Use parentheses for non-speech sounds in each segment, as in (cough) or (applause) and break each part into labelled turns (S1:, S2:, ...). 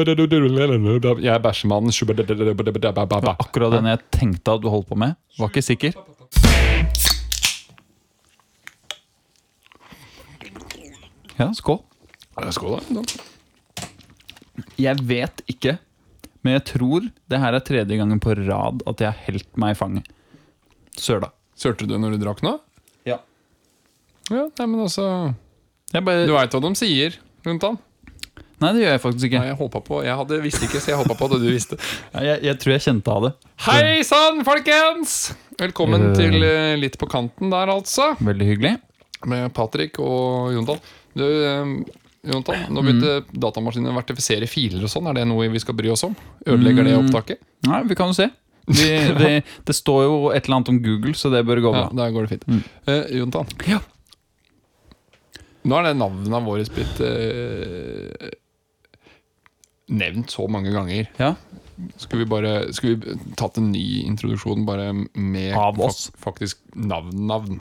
S1: Jeg er bæsjemannen.
S2: Akkurat den jeg tenkte at du holdt på med. Var ikke sikker. Ja, skål.
S1: Skål, da.
S2: Jeg vet ikke, men jeg tror det her er tredje gangen på rad at jeg har helt meg i fanget. Søla.
S1: Sørte du når du drakk nå?
S2: Ja.
S1: Ja, nei, men altså
S2: Jeg bare,
S1: Du veit hva de sier rundt han.
S2: nei, det gjør jeg faktisk ikke.
S1: Nei, jeg håpa på Jeg hadde, visste ikke, så jeg håpa på at du visste.
S2: Jeg, jeg tror jeg kjente av det.
S1: (laughs) Hei sann, folkens! Velkommen til eh, Litt på kanten der, altså.
S2: Veldig hyggelig.
S1: Med Patrick og Jontan. Du, eh, Jontan, nå begynte datamaskinen å vertifisere filer og sånn. Er det noe vi skal bry oss om? Ødelegger det opptaket?
S2: Nei, vi kan jo se. Vi, det, det står jo et eller annet om Google, så det bør gå
S1: Ja,
S2: bra.
S1: der går det fint.
S2: Mm.
S1: Eh, Jontan,
S2: Ja.
S1: nå er det navnet vårt blitt eh, nevnt så mange ganger.
S2: ja.
S1: Skulle vi bare Skulle vi tatt en ny introduksjon bare med
S2: Av oss?
S1: fak- faktisk navn-navn?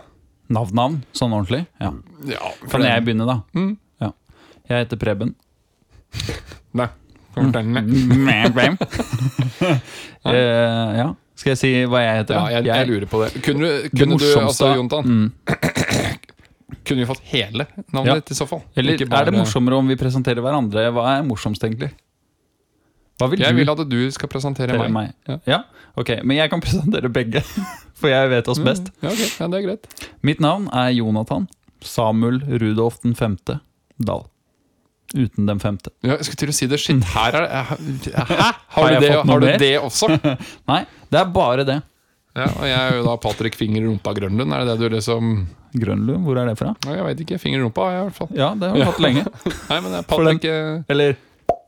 S2: Navn-navn, sånn ordentlig. Ja.
S1: Ja, for
S2: Kan
S1: det-
S2: jeg begynne, da?
S1: Mm.
S2: Ja. Jeg heter
S1: (laughs)
S2: Preben.
S1: Nei. Fortell
S2: Mm.
S1: meg.
S2: (laughs) Eh, ja. Skal jeg si hva jeg heter?
S1: Ja,
S2: da?
S1: jeg, jeg lurer på det. Kunne, du-
S2: Det
S1: kunne du,
S2: morsomste-
S1: altså, Jontan
S2: Mm.
S1: (coughs) Kunne vi fått hele navnet
S2: Ja.
S1: ditt i så fall?
S2: Eller
S1: Ikke bare-
S2: er det morsommere om vi presenterer hverandre? Hva er morsomst, egentlig? Hva vil
S1: Jeg
S2: du
S1: vil at du skal presentere
S2: presentere
S1: meg.
S2: meg?
S1: Ja.
S2: Ja, ok. Men jeg kan (laughs) presentere begge, for jeg vet
S1: Mm.
S2: oss best.
S1: Ja, ok. ja, det er greit.
S2: Mitt navn er Jonathan Samuel Rudolf den femte Dahl. Uten den femte.
S1: Ja, jeg skulle til å si det. Shit, her er det
S2: (laughs)
S1: Hæ? Har
S2: jeg
S1: du det,
S2: fått noe
S1: har du
S2: mer?
S1: det også?
S2: Nei, det er bare det.
S1: Ja, og jeg er jo da Patrick Finger i rumpa Grønlund. Er det det du liksom
S2: Grønlund, hvor er det fra?
S1: Nei, Jeg veit ikke. Finger i rumpa har jeg i hvert fall.
S2: Ja, det har vi hatt lenge.
S1: Nei, men det er
S2: For den-
S1: Patrick, eh,
S2: Eller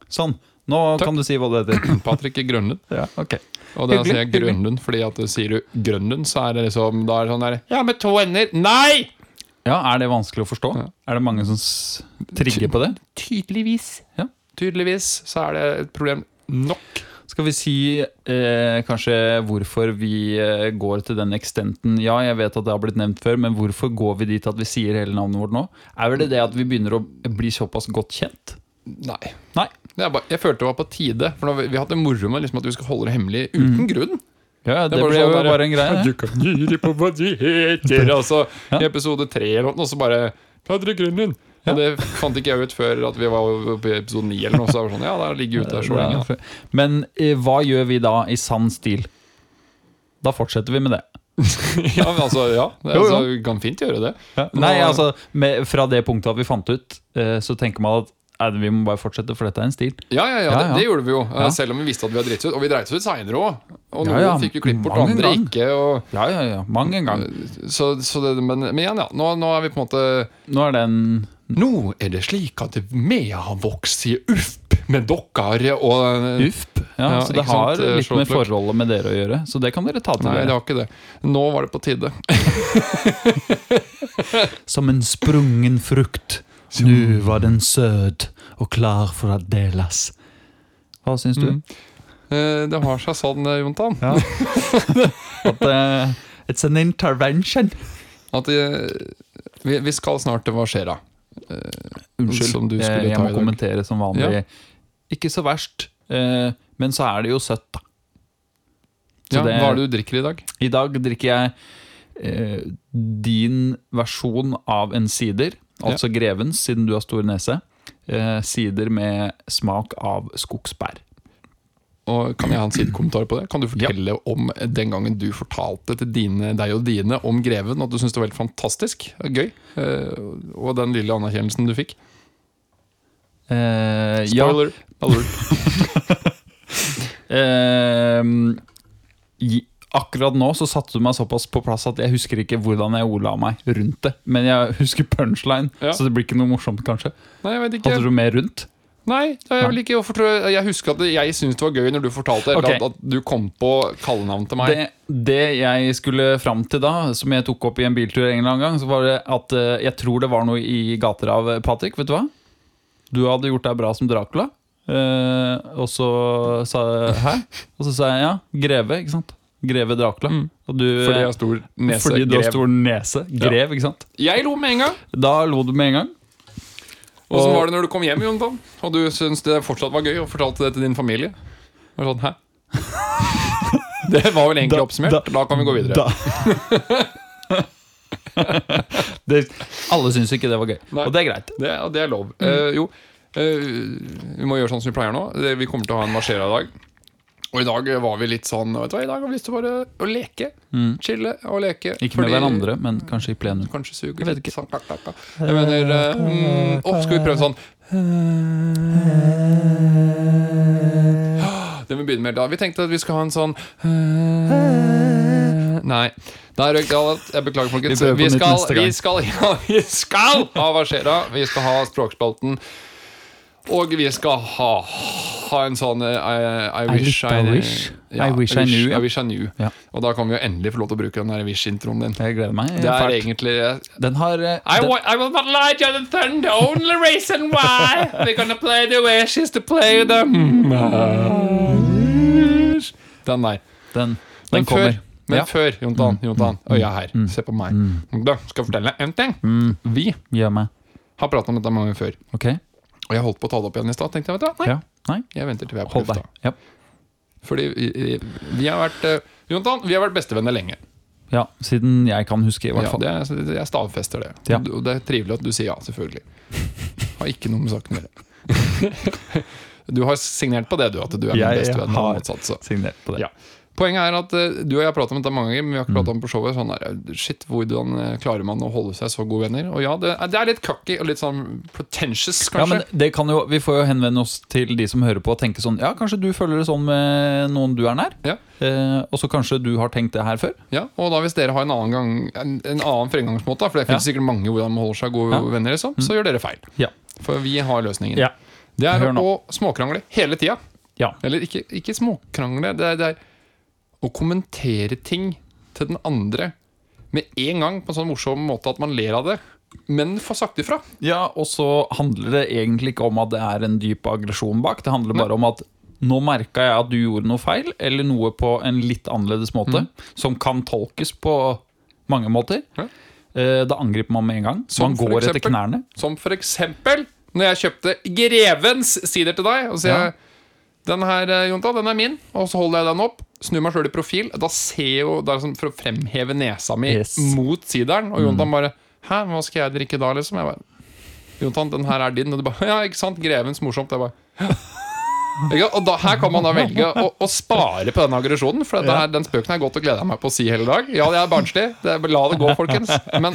S2: sånn. Nå kan du si hva det heter.
S1: Patrick Grønlund.
S2: (clears throat) Ja, ok.
S1: Og da
S2: Hyggelig,
S1: sier jeg Grønlund, fordi at sier du Grønlund, så er det liksom Da er det sånn der Ja, med to ender. Nei!
S2: Ja, Er det vanskelig å forstå? Er det mange som s trigger på det?
S1: Tydeligvis.
S2: Ja.
S1: Tydeligvis så er det et problem nok.
S2: Skal vi si eh, kanskje hvorfor vi eh, går til den ekstenten? Ja, jeg vet at det har blitt nevnt før, men hvorfor går vi dit at vi sier hele navnet vårt nå? Er vel det det at vi begynner å bli såpass godt kjent?
S1: Nei.
S2: Nei.
S1: Det er bare, jeg følte det var på tide. For nå, har vi- vi har hatt det moro med liksom at du skal holde det hemmelig
S2: Mm.
S1: uten grunn.
S2: Ja, det,
S1: er
S2: ble jo
S1: sånn der,
S2: bare en (laughs) greie.
S1: Du
S2: det.
S1: kan lure på hva de heter. Altså, I episode tre eller noe, så bare Patrick Grønlund. Ja. Det fant ikke jeg ut før at vi var oppe i episode ni eller noe. Så er det sånn, ja, der ligger ute der så lenge.
S2: Ja. Men eh, hva gjør vi da, i sann stil? Da fortsetter vi med det.
S1: Ja, men altså, ja. Det, er-
S2: (laughs) Jo, jo.
S1: altså, vi kan fint gjøre det.
S2: Nei,
S1: Nå-
S2: altså, med, fra det punktet at vi fant ut, eh, så tenker man at eh, vi må bare fortsette, for dette er en stil.
S1: Ja, ja, ja,
S2: Ja,
S1: det,
S2: ja.
S1: det gjorde vi jo. eh,
S2: Ja.
S1: Selv om vi visste at vi hadde dritt oss ut. Og vi dreit oss ut seinere òg. Og
S2: Ja,
S1: noen
S2: ja,
S1: fikk jo klipp bort, og
S2: mange
S1: andre
S2: ganger.
S1: ikke. Og,
S2: Ja, ja, ja. Mang en gang.
S1: så, så det, men, men igjen, ja. Nå, nå er vi på en måte
S2: Nå er det en
S1: Nå er det slik at mea har vokst i UFP med dere og
S2: UFP. Ja,
S1: Ja,
S2: så det
S1: ikke
S2: har
S1: sant, eh,
S2: litt med
S1: slått løk.
S2: forholdet med dere å gjøre. Så det kan dere ta til
S1: Nei, det
S2: dere.
S1: var ikke det. Nå var det på tide.
S2: Som en sprungen frukt. Nu
S1: Mm.
S2: var den sød og klar for å deles. Hva syns du?
S1: Eh, Det har seg sånn, eh, Jontan,
S2: Mm. Ja. (laughs) At eh, It's an intervention.
S1: at eh, vi, vi skal snart til Hva skjer da?
S2: Unnskyld,
S1: Som du
S2: eh,
S1: skulle
S2: jeg
S1: ta i
S2: må
S1: dag.
S2: kommentere som vanlig. Ikke så verst, eh, men så er det jo søtt, da. Så
S1: Ja,
S2: det-
S1: hva er det du drikker i dag?
S2: I dag drikker jeg eh, din versjon av en sider, altså Grevens, siden du har stor nese. Eh, sider med smak av skogsbær.
S1: Og Kan jeg ha en sidekommentar på det? Kan du fortelle om den gangen du fortalte til dine, deg og dine om Greven at du syntes det var helt fantastisk og gøy? eh, Og den lille anerkjennelsen du fikk?
S2: Eh, ja,
S1: Spoiler!
S2: (laughs)
S1: alert.
S2: eh, i- akkurat nå så satte du meg såpass på plass at jeg husker ikke hvordan jeg ordla meg rundt det. Men jeg husker punchline,
S1: Ja.
S2: så det blir ikke noe morsomt, kanskje.
S1: Nei, jeg vet ikke.
S2: Hadde du mer rundt?
S1: Nei, det er vel ikke hvorfor tror jeg Jeg husker at det- jeg syntes det var gøy når du fortalte
S2: Ok.
S1: at, at du kom på kallenavn til meg.
S2: Det, det jeg skulle fram til da, som jeg tok opp i en biltur en eller annen gang, så var det at eh, jeg tror det var noe i gater av eh, Patrick, vet du hva? Du hadde gjort deg bra som Dracula. Eh, og så sa jeg hæ? Og så sa jeg ja, greve, ikke sant? Greve Dracula. Og du,
S1: Mm.
S2: eh,
S1: fordi jeg har stor nese.
S2: fordi du har
S1: grev.
S2: stor nese. Grev, ikke sant?
S1: Jeg lo med en gang.
S2: Da lo du med en gang.
S1: Åssen var det når du kom hjem, Jonathan? Og du syntes det fortsatt var gøy og fortalte det til din familie? Og sånn, hæ? (laughs) Det var vel egentlig
S2: Da-
S1: oppsummert.
S2: da-
S1: Da, kan vi gå videre.
S2: Da.
S1: (laughs)
S2: det, alle syns ikke det var gøy.
S1: Nei.
S2: Og det er greit.
S1: Det, ja, det er lov.
S2: Mm.
S1: Eh, jo, eh, vi må gjøre sånn som vi pleier nå. Det- Vi kommer til å ha en marsjera i dag. Og i dag var vi litt sånn vet du hva, I dag har vi lyst til å bare å leke. Chille og leke.
S2: Mm. Ikke
S1: Fordi-
S2: med hverandre, men kanskje i plenum.
S1: Kanskje suger
S2: Jeg vet
S1: litt.
S2: ikke.
S1: Sånn, klakk, klakk, klakk. Jeg mener eh, mm, opp, Skal vi prøve sånn? (gasps) Det må vi begynne med. Da. Vi tenkte at vi skal ha en sånn Nei. Der røyk det alt. Jeg beklager,
S2: Vi
S1: folkens.
S2: prøver på
S1: Vi
S2: nytt
S1: skal,
S2: neste gang.
S1: vi skal, (laughs) ja, vi skal ha Varsera. Vi skal ha Språkspalten. Og vi skal ha, ha en sånn eh, I, I wish I,
S2: I wish.
S1: Ja,
S2: I wish I knew, ja.
S1: I wish I knew.
S2: Ja.
S1: Og da kan vi jo endelig få lov til å bruke den der wish-introen din.
S2: Jeg gleder meg.
S1: Det er
S2: fælt.
S1: egentlig
S2: Den har eh,
S1: I,
S2: den,
S1: wa- I will not lie, Jonathan. The only reason why we're gonna play the wish is to play the wish. Den der. Men
S2: den, den
S1: Før,
S2: kommer.
S1: men
S2: Ja. Mm.
S1: før, Jontan, Jontan øya her, se på meg. Da skal jeg fortelle en ting.
S2: Mm.
S1: Vi
S2: Gjør meg.
S1: har pratet om dette mange ganger før.
S2: Ok?
S1: Og jeg holdt på å ta det opp igjen i stad. Tenkte jeg, vet du hva, nei,
S2: Ja. Nei,
S1: jeg venter til vi er på
S2: hold
S1: lufta.
S2: deg. Ja.
S1: Fordi vi, vi har vært eh, Jontan, vi har vært bestevenner lenge.
S2: ja. Siden jeg kan huske, i hvert
S1: Ja,
S2: fall.
S1: det er, jeg stavfester det.
S2: Ja.
S1: Og det er trivelig at du sier ja, selvfølgelig. Har ikke noe med saken å gjøre.
S2: (laughs)
S1: Du har signert på det, du, at du er min
S2: Jeg
S1: beste venn.
S2: har-
S1: og motsatt, så.
S2: Signert på det.
S1: Ja. Poenget er at eh, du og jeg har pratet om dette mange ganger, men vi har ikke
S2: Mm.
S1: pratet om på showet. Sånn der, shit, hvordan eh, klarer man å holde seg så gode venner? Og ja, det, er- det er litt cocky og litt sånn pretentious,
S2: Ja,
S1: kanskje.
S2: men det kan jo, Vi får jo henvende oss til de som hører på og tenke sånn Ja, kanskje du føler det sånn med noen du er nær?
S1: Ja.
S2: Eh, og så kanskje du har tenkt det her før?
S1: Ja, og da hvis dere har en annen, gang, en, en annen fremgangsmåte, for det finnes sikkert mange hvordan man holder seg gode
S2: Ja.
S1: venner, liksom, så gjør dere feil.
S2: Ja.
S1: For vi har løsningen.
S2: Ja.
S1: Det er
S2: Hør nå.
S1: å småkrangle hele tida.
S2: Ja.
S1: Eller ikke, ikke småkrangle, det er, det er å kommentere ting til den andre med en gang på en sånn morsom måte at man ler av det, men får sagt ifra.
S2: Ja, og så handler det egentlig ikke om at det er en dyp aggresjon bak. Det handler bare om at nå merka jeg at du gjorde noe feil, eller noe på en litt annerledes måte, som kan tolkes på mange måter.
S1: Mm. Ja.
S2: Eh, Da angriper man med en gang. Så
S1: Som
S2: man
S1: for
S2: går etter
S1: eksempel?
S2: knærne.
S1: Som for eksempel når jeg kjøpte Grevens sider til deg, og så sier
S2: Ja.
S1: jeg den her, eh, Jonta, den er min, og så holder jeg den opp, snur meg sjøl i profil, da ser jeg jo det er sånn for å fremheve nesa mi
S2: Yes. Mm.
S1: mot sideren, og Jontan bare Hæ, hva skal jeg drikke da, liksom? Jeg bare Jontan, den her er din, og du bare Ja, ikke sant? Grevens morsomt. Jeg bare (laughs) ikke sant? Og da, Her kan man da velge å, å spare på den aggresjonen. For dette her, den spøken har jeg gått og gleda meg på å si hele dag. Ja, jeg er barnslig. Det, la det gå, folkens. Men,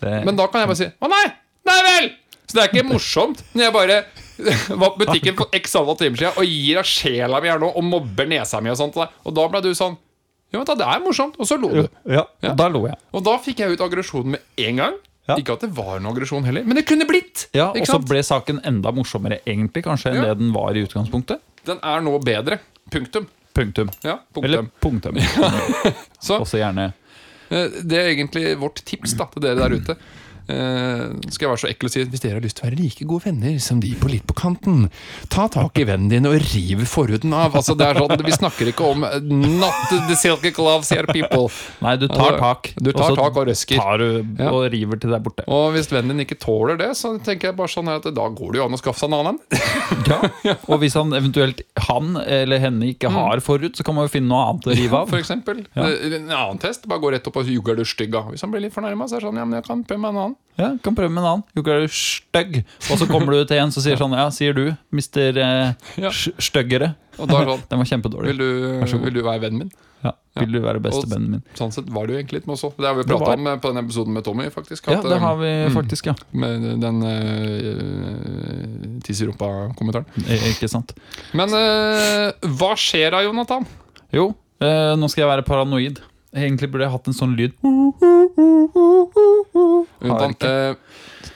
S2: Det-
S1: men da kan jeg bare si Å nei! Nei vel! Så det er ikke morsomt når jeg bare (laughs) var på butikken for x antall timer siden og gir av sjela mi her nå og mobber nesa mi og sånt. til deg. Og da ble du sånn Ja, men da, det er morsomt. Og så lo du.
S2: Ja,
S1: Ja.
S2: Da lo jeg.
S1: Og da fikk jeg ut aggresjonen med en gang.
S2: Ja.
S1: Ikke at det var noe aggresjon heller, men det kunne blitt.
S2: Ja, Og
S1: ikke
S2: så
S1: sant?
S2: ble saken enda morsommere, egentlig, kanskje, enn
S1: Ja.
S2: det den var i utgangspunktet.
S1: Den er nå bedre. Punktum.
S2: Punktum.
S1: Ja, punktum.
S2: Eller punktum.
S1: (laughs) Så-
S2: Også gjerne
S1: Eh, Det er egentlig vårt tips da, til dere der ute. Eh, skal jeg være så ekkel og si Hvis dere har lyst til å være like gode venner som de på Litt på kanten, ta tak i vennen din og riv forhuden av. Altså det er sånn, Vi snakker ikke om eh, Not the silky gloves here, people.
S2: Nei, du
S1: Altså,
S2: tar tak.
S1: du tar
S2: og så
S1: tak og røsker.
S2: Tar du
S1: Ja.
S2: og river til det er borte.
S1: Og hvis vennen din ikke tåler det, så tenker jeg bare sånn her at da går det jo an å skaffe seg en annen. (laughs)
S2: Ja. Og hvis han eventuelt han eller henne ikke har forut, så kan man jo finne noe annet å rive
S1: Mm.
S2: av.
S1: For eksempel.
S2: (laughs)
S1: Eh, En annen test. Bare gå rett opp og juger du stygg, da. Hvis han blir litt fornærma, så er det sånn Ja, men jeg kan prøve meg en annen.
S2: Ja, kan prøve med en annen. Jo, ikke er du stygg. Og så kommer du til en som sier sånn Ja, sier du, mister eh,
S1: Ja.
S2: sh- styggere.
S1: Og da er det sånn
S2: Den
S1: Vil
S2: var kjempedårlig.
S1: du,
S2: Vær så god.
S1: vil du være vennen min?
S2: Ja. Vil du være bestevennen min?
S1: Sånn sett var det jo egentlig litt med oss òg. Det har vi
S2: Det
S1: prata
S2: var-
S1: om eh, på den episoden med Tommy, faktisk.
S2: Ja,
S1: at,
S2: det
S1: eh,
S2: har vi faktisk, ja.
S1: Med den uh, tiss i rumpa-kommentaren.
S2: Eh, Ikke sant.
S1: Men eh, hva skjer da, Jonathan?
S2: Jo, eh, nå skal jeg være paranoid. Egentlig burde jeg hatt en sånn lyd.
S1: Jonathan
S2: ikke.
S1: eh,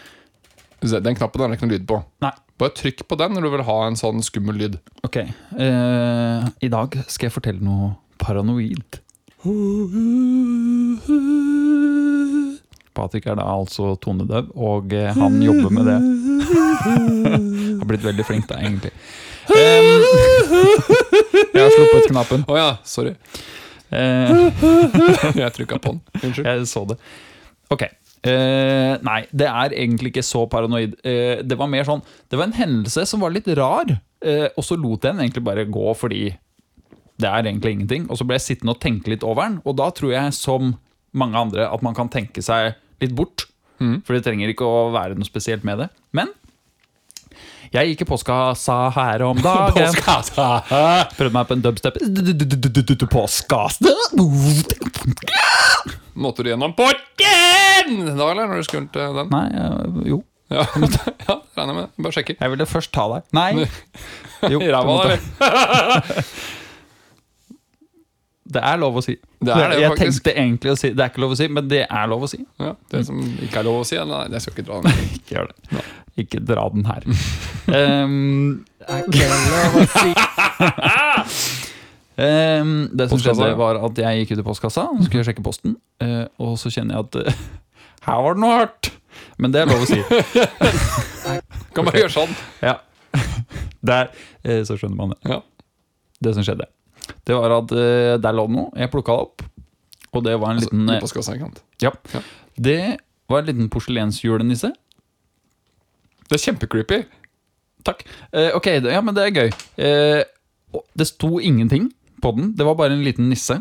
S1: se, den knappen er det ikke noe lyd på.
S2: Nei.
S1: Bare trykk på den når du vil ha en sånn skummel lyd.
S2: Ok, eh, i dag skal jeg fortelle noe paranoid. Patrick er da altså tonedøv, og eh, han jobber med det. (laughs) Har blitt veldig flink da, egentlig. Eh, (laughs) jeg har sluppet knappen.
S1: Å ja, sorry.
S2: Eh, (laughs)
S1: Jeg trykka på den. Unnskyld.
S2: jeg så det. Ok, eh, Eh, nei, det er egentlig ikke så paranoid. Eh, det var mer sånn Det var en hendelse som var litt rar, eh, og så lot jeg den egentlig bare gå fordi det er egentlig ingenting. Og så ble jeg sittende og tenke litt over den, og da tror jeg, som mange andre, at man kan tenke seg litt bort. For det trenger ikke å være noe spesielt med det. Men jeg gikk i påskasa her om dagen. Prøvde meg på en dubstep. Påskas
S1: (laughs) Måtte du gjennom porten da, eller? Når du skulle til den?
S2: Nei, eh, jo.
S1: Ja, (laughs) ja regner med det. Bare sjekker.
S2: Jeg ville først ta deg.
S1: (laughs)
S2: Nei. Jo,
S1: I ræva,
S2: det måtte-
S1: eller?
S2: Det er lov å si.
S1: Det er det,
S2: jeg
S1: faktisk.
S2: tenkte egentlig å si Det er ikke lov å si, men det er lov å si.
S1: Ja, det som ikke er lov å si? Nei, jeg skal ikke dra den.
S2: Ikke gjør det. Ikke dra den
S1: (laughs)
S2: her. um, (laughs) um, det som
S1: Postkassa, ja.
S2: skjedde, var at jeg gikk ut i postkassa og skulle sjekke posten. eh, og så kjenner jeg at (laughs) eh, Her var det noe hardt! Men det er lov å si.
S1: (laughs) Kan bare gjøre sånn.
S2: Ja. (laughs) Der eh, så skjønner man det.
S1: Ja.
S2: Det som skjedde, det var at eh, der lå det noe. Jeg plukka det opp, og det var en
S1: Altså,
S2: liten eh,
S1: på skassa, ikke sant?
S2: ja.
S1: Ja.
S2: Det var en liten porselensjulenisse.
S1: Det er kjempecreepy.
S2: Takk. Eh, ok, det, ja, men det er gøy. Eh, og det sto ingenting på den. Det var bare en liten nisse.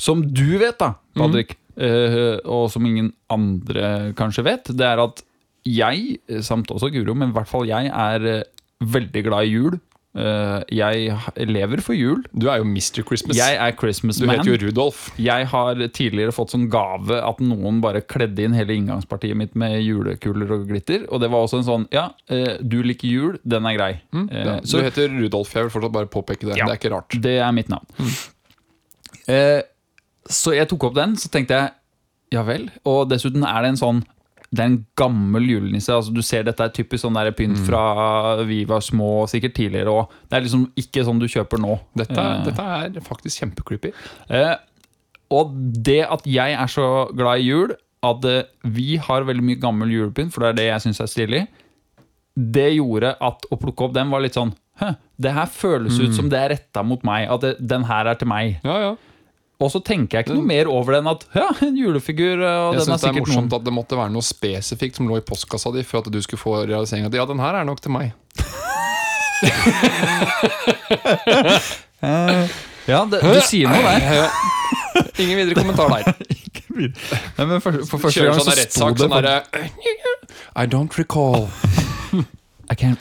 S2: Som du vet, da,
S1: Mhm.
S2: Patrick, eh, og som ingen andre kanskje vet, det er at jeg, samt også Guro, men i hvert fall jeg, er eh, veldig glad i jul. Eh, jeg ha- lever for jul.
S1: Du er jo Mr. Christmas.
S2: Jeg er Christmas
S1: du
S2: man.
S1: heter jo Rudolf.
S2: Jeg har tidligere fått sånn gave at noen bare kledde inn hele inngangspartiet mitt med julekuler og glitter. Og det var også en sånn Ja, eh, du liker jul, den er grei. Eh,
S1: Hm? Mm, Ja,
S2: så
S1: du heter Rudolf. Jeg vil fortsatt bare påpeke det.
S2: Ja.
S1: Det er ikke rart.
S2: det er mitt navn.
S1: Mm.
S2: Eh, så jeg tok opp den, så tenkte jeg ja vel. Og dessuten er det en sånn det er en gammel julenisse. altså Du ser dette er typisk sånn der pynt
S1: Mm.
S2: fra vi var små, sikkert tidligere òg. Det er liksom ikke sånn du kjøper nå.
S1: Dette,
S2: Eh,
S1: dette er faktisk kjempecreepy.
S2: Eh, og det at jeg er så glad i jul, at eh, vi har veldig mye gammel julepynt, for det er det jeg syns er stilig, det gjorde at å plukke opp den var litt sånn Hø, det her føles
S1: Mm.
S2: ut som det er retta mot meg. At det, den her er til meg.
S1: Ja, ja.
S2: Og så tenker jeg ikke noe mer over den at ja, en julefigur, eh, og
S1: Mm. Jeg syns
S2: den er
S1: det er
S2: sikkert noen
S1: morsomt at det måtte være noe spesifikt som lå i postkassa di for at du skulle få realiseringen at ja, den her er nok til meg.
S2: (laughs) Ja, det, du sier noe
S1: (laughs)
S2: der.
S1: Ja. Ingen videre kommentar (laughs) der.
S2: Nei, men for, for første
S1: Kjører
S2: gang
S1: sånn
S2: så
S1: der
S2: sto
S1: rettssak
S2: det
S1: sånn derre I don't recall.
S2: I can't,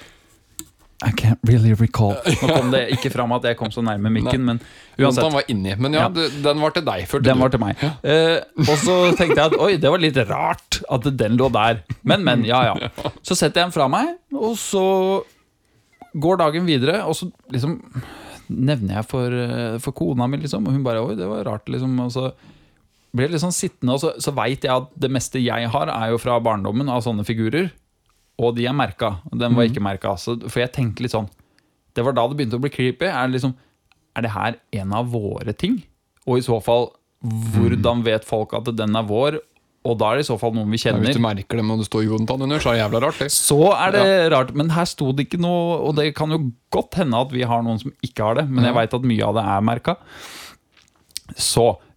S2: I can't really recall. Nå kom det ikke fram at jeg kom så nærme mikken, men uansett.
S1: Den var inni. Men ja,
S2: Ja.
S1: det- den var til deg. følte
S2: Den var
S1: du.
S2: til meg. Eh, og så tenkte jeg at oi, det var litt rart at den lå der. Men, men, ja, ja. Så setter jeg den fra meg, og så går dagen videre, og så liksom nevner jeg for, eh, for kona mi, liksom, og hun bare oi, det var rart, liksom. Og så blir jeg litt sånn sittende, og så, så veit jeg at det meste jeg har, er jo fra barndommen av sånne figurer. Og de er merka. og Den
S1: Mhm.
S2: var ikke merka. Så, for jeg tenkte litt sånn Det var da det begynte å bli creepy. Er det, liksom, er det her en av våre ting? Og i så fall, hvordan vet folk at den er vår? Og da er det i så fall noen vi
S1: Mhm. Ja, Hvis
S2: kjenner.
S1: du merker det når det står Jontan under, så er det jævla rart. Det.
S2: Så er det rart, men her sto det ikke noe Og det kan jo godt hende at vi har noen som ikke har det, men jeg veit at mye av det er merka. Så
S1: Så det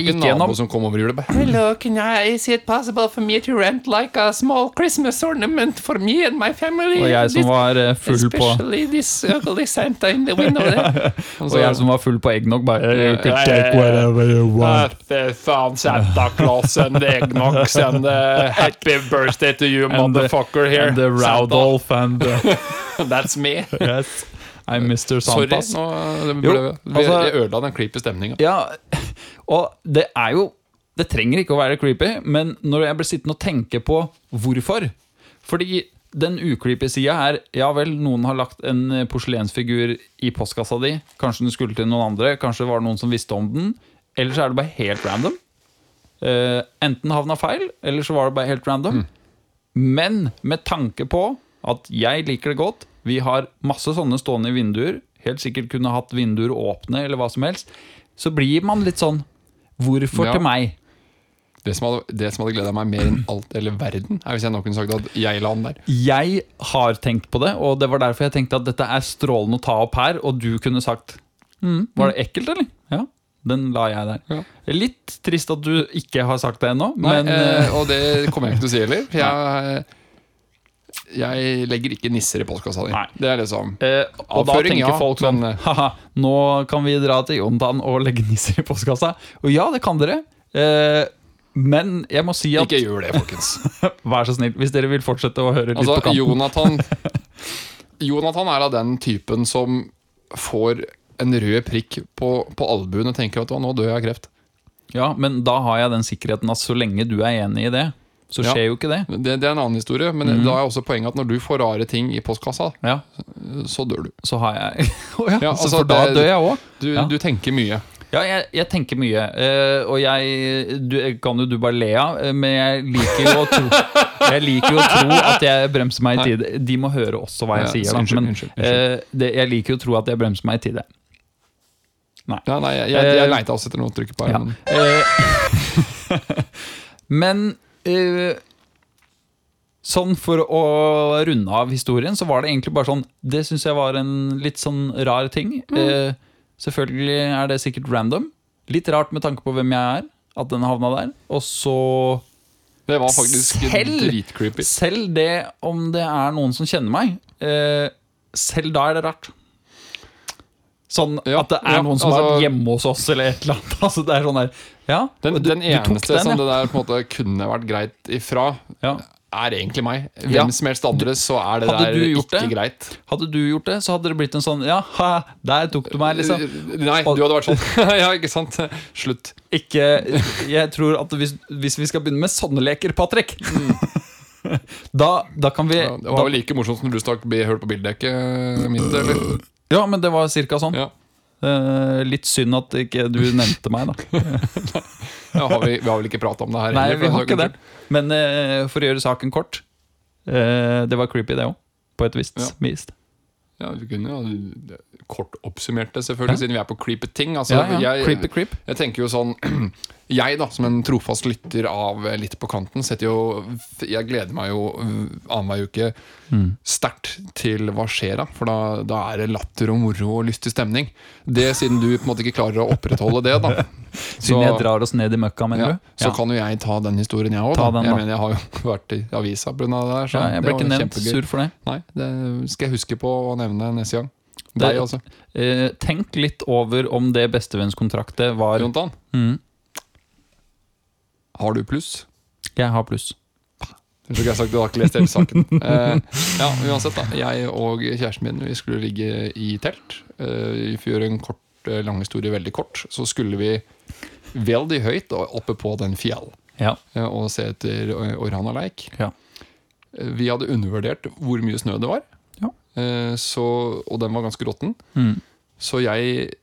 S1: var ikke
S2: gikk
S1: en nabo
S2: gjennom
S1: som kom over julebær.
S3: Hello, can I? Is it possible for me to rent like a small Christmas ornament for me and my family?
S2: Og jeg som
S3: This-
S2: var eh, full på
S3: Especially this ugly Santa in the window
S2: (laughs)
S3: there.
S2: Og jeg som var full på eggnog, bare eh, You can take
S4: whatever you want.
S1: Fy faen, Santa Claus and Eggnox and
S2: (laughs)
S1: uh, Happy birthday to you,
S2: And the-
S1: motherfucker here.
S2: And the Rudolph and the,
S1: (laughs) That's me.
S2: yes, I'm Mr.
S1: Sorry,
S2: Santas.
S1: nå eh, det
S2: Jo,
S1: ble, vi,
S2: altså-
S1: jeg ødela den creepy stemninga.
S2: Ja, og det er jo Det trenger ikke å være creepy, men når jeg blir sittende og tenke på hvorfor Fordi den ucreepy sida er Ja vel, noen har lagt en eh, porselensfigur i postkassa di. Kanskje den skulle til noen andre. Kanskje det var noen som visste om den. Eller så er det bare helt random. Eh, enten havna feil, eller så var det bare helt random. Men med tanke på at jeg liker det godt Vi har masse sånne stående i vinduer Helt sikkert kunne hatt vinduer åpne Eller hva som helst Så blir man litt sånn Hvorfor
S1: Ja.
S2: til meg?
S1: Det som hadde, det som hadde gleda meg mer enn alt eller verden, er hvis jeg nå kunne sagt at jeg la den der.
S2: Jeg har tenkt på det Og det var derfor jeg tenkte at dette er strålende å ta opp her Og du kunne sagt mm, Var det ekkelt eller? Ja, Den la jeg der.
S1: Ja.
S2: Litt trist at du ikke har sagt det ennå,
S1: Nei,
S2: men
S1: eh, og det kommer jeg ikke til å si heller. (laughs) for Jeg, jeg legger ikke nisser i postkassa di.
S2: Nei.
S1: Det er liksom
S2: eh, Og da
S1: avføring,
S2: tenker
S1: ja,
S2: folk sånn
S1: men, eh,
S2: Haha, nå kan vi dra til Jontan og legge nisser i postkassa. Og ja, det kan dere. Eh, men jeg må si at
S1: Ikke gjør det, folkens. (laughs)
S2: Vær så snill, hvis dere vil fortsette å høre litt på
S1: Altså,
S2: kanten.
S1: Jonathan (laughs) Jonathan er av den typen som får en rød prikk på, på albuen og tenker at «Å, nå dør jeg av kreft.
S2: Ja, men da har jeg den sikkerheten at så lenge du er enig i det, så
S1: Ja.
S2: skjer jo ikke det.
S1: Det, det er en annen historie, men da er også poenget at når du får rare ting i postkassa,
S2: Ja,
S1: så dør du.
S2: så har jeg (laughs) Å ja,
S1: Ja,
S2: så
S1: altså,
S2: for da
S1: det-
S2: dør jeg òg?
S1: Du,
S2: Ja.
S1: du tenker mye.
S2: Ja, jeg, jeg tenker mye. eh, og jeg du, Kan jo du bare le av, eh, men jeg liker jo å tro
S1: (laughs)
S2: Jeg liker jo å tro at jeg bremser meg i tide. De må høre også hva jeg
S1: Ja,
S2: sier, da.
S1: unnskyld,
S2: Men
S1: unnskyld, unnskyld.
S2: eh, det, jeg liker jo å tro at jeg bremser meg i tide.
S1: Ja, nei, jeg, jeg, jeg
S2: Eh,
S1: leita også etter noe å trykke på. her,
S2: Ja.
S1: men-
S2: Eh, (laughs) Men eh, Sånn for å runde av historien, så var det egentlig bare sånn Det syns jeg var en litt sånn rar ting.
S1: Mm.
S2: Eh, selvfølgelig er det sikkert random. Litt rart med tanke på hvem jeg er, at den havna der. Og så
S1: Det var faktisk
S2: Selv-
S1: dritcreepy.
S2: Selv det om det er noen som kjenner meg, eh, selv da er det rart. Sånn
S1: Ja,
S2: at det er
S1: ja,
S2: noen som
S1: altså-
S2: har vært hjemme hos oss, eller et eller annet. (laughs) Altså, det er sånn der, ja,
S1: Den,
S2: du-
S1: den
S2: du tok
S1: eneste
S2: den,
S1: som
S2: ja.
S1: det der på en måte kunne vært greit ifra,
S2: Ja.
S1: er egentlig meg. Hvem
S2: Ja.
S1: som helst andre, så er det
S2: Hadde
S1: der
S2: du gjort
S1: ikke
S2: det?
S1: greit.
S2: Hadde du gjort det, så hadde det blitt en sånn Ja, ha, der tok du meg,
S1: (laughs)
S2: liksom.
S1: Nei, du hadde vært sånn. (laughs) ja, ikke sant? Slutt.
S2: Ikke Jeg tror at hvis, hvis vi skal begynne med sånne leker, Patrick (laughs) da, Eh, da kan vi
S1: Mm. Ja, det var jo like morsomt som du stakk bi- hull på bildekket mitt, eller?
S2: da, Ja, men det var cirka sånn.
S1: Ja.
S2: Eh, litt synd at ikke du nevnte
S1: (laughs)
S2: meg, da.
S1: Ja, har vi, vi har vel ikke prata om det her
S2: Nei,
S1: for
S2: vi
S1: den
S2: har ikke det.
S1: saks skyld.
S2: Men eh, for å gjøre saken kort eh, Det var creepy, det òg. På et visst
S1: Ja.
S2: vis.
S1: Ja, vi kunne jo kort oppsummert det, selvfølgelig, siden vi er på creepy ting. Altså,
S2: Ja, ja.
S1: Jeg,
S2: Creepy creep.
S1: Jeg tenker jo sånn (clears throat) Jeg da, som en trofast lytter av eh, Litt på kanten, setter jo Jeg gleder meg jo eh, annenhver uke
S2: Mm.
S1: sterkt til hva skjer da. For da, da er det latter og moro og lystig stemning. Det siden du på en måte ikke klarer å opprettholde det, da.
S2: (laughs) Siden jeg drar oss ned i møkka,
S1: ja,
S2: mener du?
S1: så kan jo jeg ta den historien, jeg òg.
S2: Ta den,
S1: Jeg
S2: da.
S1: mener, jeg har jo (laughs) vært i avisa pga. det der. Så
S2: ja, jeg ble
S1: det
S2: ikke
S1: var
S2: nevnt.
S1: kjempegøy.
S2: Sur for det.
S1: Nei, det skal jeg huske på å nevne neste gang.
S2: Det-
S1: Deg også,
S2: Eh, tenk litt over om det bestevennskontraktet var
S1: Jontan.
S2: Mm,
S1: Har du pluss?
S2: Jeg har pluss.
S1: Jeg tror ikke jeg har sagt det, jeg har ikke lest hele saken. Eh, ja, uansett da, Jeg og kjæresten min vi skulle ligge i telt. Eh, for å gjøre en kort, eh, lang historie veldig kort, så skulle vi veldig høyt og oppe på den fjell
S2: Ja.
S1: eh, og se etter eh, Orhana Leik.
S2: Ja.
S1: Eh, Vi hadde undervurdert hvor mye snø det var,
S2: Ja.
S1: eh, så, og den var ganske råtten.
S2: Mm.
S1: Så jeg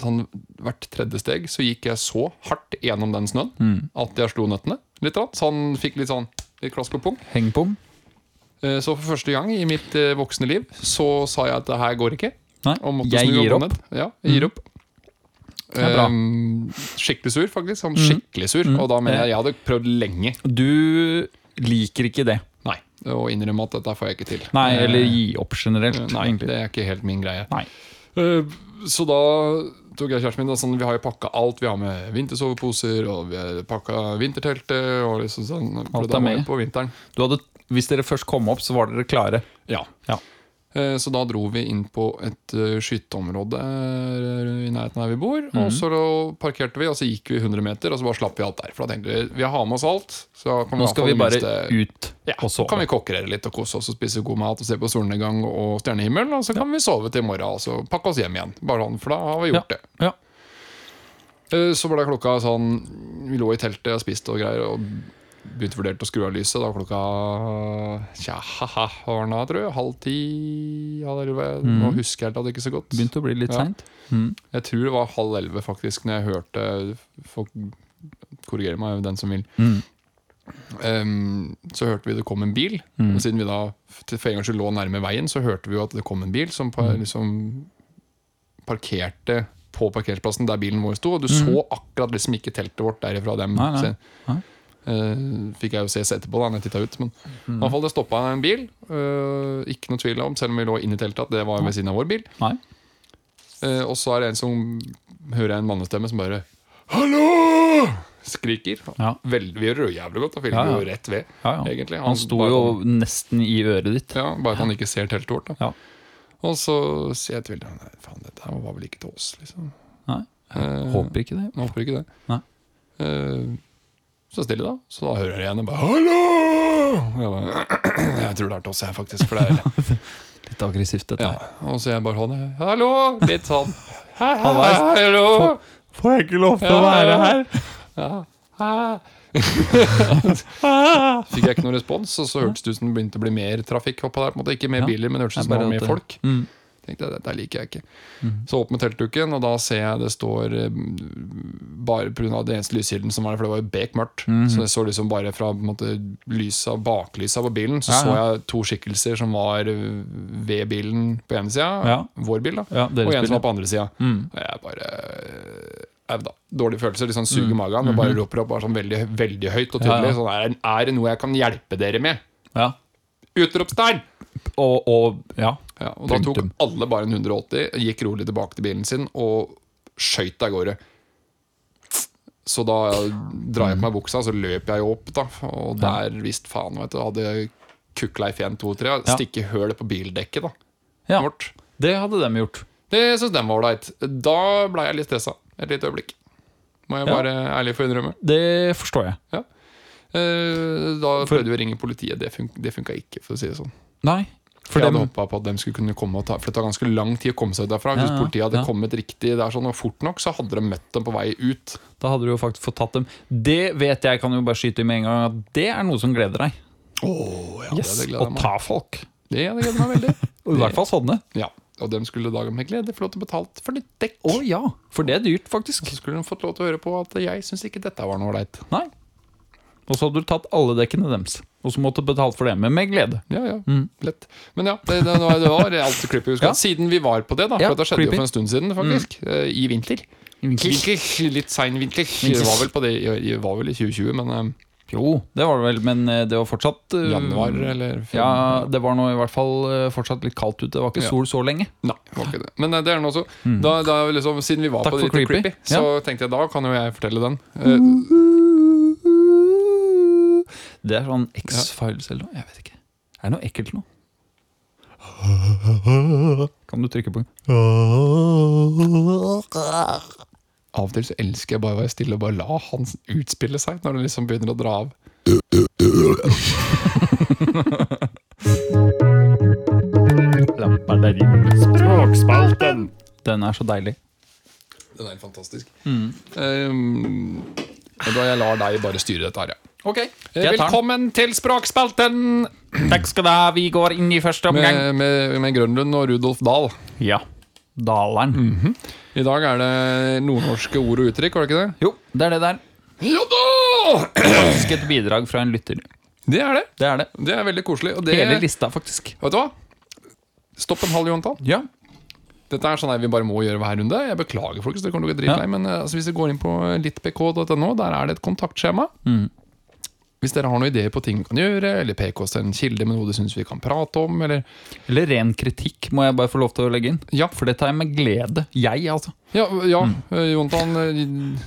S1: sånn, Hvert tredje steg så gikk jeg så hardt gjennom den snøen
S2: Mm.
S1: at jeg slo nøttene litt. da. Så han fikk litt sånn litt klask på pung.
S2: Hengpung?
S1: Eh, Så for første gang i mitt eh, voksne liv så sa jeg at det her går ikke.
S2: Nei,
S1: Og måtte
S2: jeg
S1: snu og
S2: gir
S1: gå
S2: opp. Mm.
S1: ned. Ja, jeg gir opp.
S2: er bra. Mm.
S1: Ehm, skikkelig sur, faktisk. Sånn skikkelig sur. Og da mener jeg jeg hadde prøvd lenge
S2: Du liker ikke det.
S1: Nei, å innrømme at dette får jeg ikke til.
S2: Nei,
S1: Eh,
S2: eller gi opp generelt.
S1: Nei,
S2: egentlig.
S1: det er ikke helt min greie.
S2: Nei.
S1: Eh, Så da tok jeg kjæresten min og sånn, Vi har jo pakka alt. Vi har med vintersoveposer, og vi har pakka vinterteltet. Og liksom sånn, for
S2: Alt
S1: da var
S2: er med.
S1: det På vinteren.
S2: Du hadde, hvis dere først kom opp, så var dere klare.
S1: Ja.
S2: Ja.
S1: Eh, Så da dro vi inn på et eh, skytteområde eh, i nærheten av der vi bor.
S2: Mhm.
S1: Og så da parkerte vi, og så gikk vi 100 meter, og så bare slapp vi alt der. For da tenkte vi vi har med oss alt. Så kan
S2: Nå
S1: i
S2: skal vi
S1: hvert fall
S2: bare
S1: det minste-
S2: ut
S1: ja,
S2: og
S1: kan
S2: sove.
S1: vi kokkerere litt og kose oss og spise god mat og se på solnedgang og stjernehimmel. Og så kan vi sove til i morgen og så pakke oss hjem igjen. Bare sånn, For da har vi gjort det.
S2: Ja.
S1: Eh, Så ble klokka sånn Vi lå i teltet og spiste og greier Og begynte vurdert å skru av lyset Da var klokka Tja, haha, hva var den da, tror jeg Halv ti, halv elve
S2: Mm.
S1: Nå husker jeg det ikke så godt
S2: Begynte å bli litt
S1: Ja.
S2: seint.
S1: Jeg tror det var halv elve faktisk Når jeg hørte Folk korrigerer meg, den som vil
S2: Mm.
S1: Ehm, Så hørte vi det kom en bil
S2: Mm.
S1: Og siden vi da til- for en gang skyld lå nærme veien Så hørte vi jo at det kom en bil Som par,
S2: Mm.
S1: liksom parkerte på parkeringsplassen der bilen vår sto Og du så akkurat liksom ikke teltet vårt derifra dem
S2: Mm. Nei, nei.
S1: Se-
S2: Nei.
S1: Eh, fikk jeg jo se etterpå da når jeg tittet ut Men
S2: Mm.
S1: i hvert fall det stoppet en bil eh, Ikke noe tvil om, selv om vi lå inne i teltet At det var ved siden av vår bil
S2: Nei.
S1: Eh, og så er det en som hører jeg en mannestemme som bare Hallo! Skriker.
S2: Ja.
S1: Vel, vi gjør det jo jævlig godt. Da filmer
S2: Ja, ja.
S1: jo rett ved,
S2: Ja, ja.
S1: egentlig.
S2: Han sto
S1: bare-
S2: jo nesten i øret ditt.
S1: Ja, Bare at han ikke ser teltet vårt. da
S2: Ja.
S1: Og så sier jeg til Vilde Nei, faen, dette her var vel ikke til oss, liksom.
S2: Nei.
S1: Eh,
S2: Håper ikke det.
S1: jeg håper ikke det.
S2: Nei.
S1: Eh, så stille, da. Så da hører jeg henne bare 'hallo'! Og Jeg, bare, (clears throat) jeg tror det er til oss, jeg, faktisk. For det er
S2: (laughs) Litt aggressivt, dette
S1: Ja,
S2: her.
S1: og så jeg bare sånn Hallo! Litt sånn Hei, hei, hei,
S2: Halvveis.
S1: hallo!
S2: Får jeg ikke lov
S1: til å være Hæ? (laughs) Fikk jeg ikke noen respons, og så hørtes det ut som det begynte å bli mer trafikk oppå der. på en måte Ikke mer
S2: Ja.
S1: biler, men det hørtes ut som det var mer folk.
S2: Mm.
S1: Tenkte jeg, Dette liker jeg ikke. Så opp med teltduken, og da ser jeg det står eh, Bare pga. den eneste lyskilden som var der, for det var jo bekmørkt.
S2: Mhm.
S1: Så jeg så liksom bare fra på en måte, lysa, baklysa på bilen, så
S2: Ja,
S1: så
S2: ja.
S1: jeg to skikkelser som var eh, ved bilen på ene sida,
S2: Ja.
S1: vår bil, da,
S2: Ja, deres
S1: og en
S2: bil,
S1: som
S2: ja.
S1: var på andre sida. Og jeg bare eh, au da. Dårlige følelser. Litt sånn suger magen. Men bare roper opp bare sånn veldig, veldig høyt og
S2: Ja,
S1: tydelig.
S2: ja.
S1: Sånn, er, det- er det noe jeg kan hjelpe dere med?
S2: Ja.
S1: Utropstegn!
S2: Og, og ja.
S1: Ja, og da tok
S2: Punktum.
S1: alle bare en 180, gikk rolig tilbake til bilen sin og skøyt av gårde. Så da drar jeg på meg buksa, så løper jeg jo opp, da. Og der visst faen, vet du, hadde Kukkleif 123
S2: Ja.
S1: stikke høl på bildekket, da.
S2: ja.
S1: Vårt.
S2: Det hadde de gjort.
S1: Det syns den var ålreit. Da ble jeg litt stressa et lite øyeblikk. Må jeg
S2: Ja.
S1: bare ærlig få innrømme.
S2: Det forstår jeg.
S1: Ja. Eh, Da prøvde vi å ringe politiet. Det, fun det funka ikke, for å si det sånn.
S2: Nei.
S1: For
S2: For
S1: jeg hadde
S2: dem,
S1: håpa på at de skulle kunne komme og ta For det tar ganske lang tid å komme seg ut derfra.
S2: Ja,
S1: Hvis
S2: ja,
S1: politiet hadde
S2: ja.
S1: kommet riktig der sånn og fort nok, så hadde de møtt dem på vei ut.
S2: da hadde du jo faktisk fått tatt dem. Det vet jeg, kan jo bare skyte i med en gang, at det er noe som gleder deg.
S1: Oh, ja,
S2: Yes,
S1: det
S2: Å
S1: gleder jeg meg.
S2: ta folk.
S1: Det det gleder jeg meg veldig. (laughs)
S2: Og I hvert fall sånne.
S1: Ja, Og de skulle da med glede få lov til å betale for litt dekk.
S2: Å ja, for det er dyrt, faktisk.
S1: Så skulle de fått lov til å høre på at jeg syns ikke dette var noe ålreit.
S2: Nei. Og så hadde du tatt alle dekkene deres, og så måtte du betalt for det, men med glede.
S1: Ja, ja, lett Men ja, det, det, var, det var alt creepy. husker jeg.
S2: Mm. Ja.
S1: Siden vi var på det, da. For
S2: Ja,
S1: dette skjedde
S2: creepy. Mm.
S1: jo for en stund siden, faktisk. eh, I vinter. Vinter, Litt sein vinter. Det var vel på det i- i- var vel i 2020, men eh,
S2: Jo, det var det vel, men eh, det var fortsatt eh,
S1: januar eller fem-
S2: Ja, det var nå i hvert fall eh, fortsatt litt kaldt ute. Det var ikke
S1: Ja.
S2: sol så lenge.
S1: Nei, det var ikke det. Men eh, det er den også. Da, da liksom, siden vi var
S2: Mm. Takk
S1: på det
S2: for
S1: litt
S2: creepy. Mm.
S1: creepy, så tenkte jeg da kan jo jeg fortelle den. Eh,
S2: Det er sånn X-Files eller noe. Jeg vet ikke. Er det noe ekkelt nå? (laughs) Kan du trykke på?
S1: av og til så elsker jeg bare å være stille og bare la han utspille seg når det liksom begynner å dra av.
S3: Språkspalten!
S2: Den er så deilig.
S1: Den er helt fantastisk. Eh, og da jeg lar deg bare styre dette her, ja.
S2: Ok,
S1: Eh, Velkommen til Språkspalten!
S2: Takk skal du ha. Vi går inn i første omgang.
S1: Med, med, med Grønlund og Rudolf Dahl.
S2: Ja. Daleren.
S1: I dag er det nordnorske ord og uttrykk, var det ikke det?
S2: Jo, det er det der.
S1: Ja da!
S2: Faktisk et bidrag fra en lytter.
S1: Det er det.
S2: Det er det.
S1: Det er veldig koselig. Og det,
S2: Hele lista, faktisk.
S1: Vet du hva? Stopp en halv Jontan.
S2: Ja.
S1: Dette er sånn her vi bare må gjøre hver runde. Jeg beklager, folkens. Dere kommer til å bli dritlei.
S2: Ja.
S1: Men eh, altså, hvis dere går inn på littpk.no, der er det et kontaktskjema.
S2: Mm.
S1: Hvis dere har noen ideer på ting vi kan gjøre, eller pk oss en kilde med noe du syns vi kan prate om, eller
S2: Eller ren kritikk, må jeg bare få lov til å legge inn.
S1: Ja,
S2: For det tar jeg med glede. Jeg, altså.
S1: ja, ja eh, Jontan eh,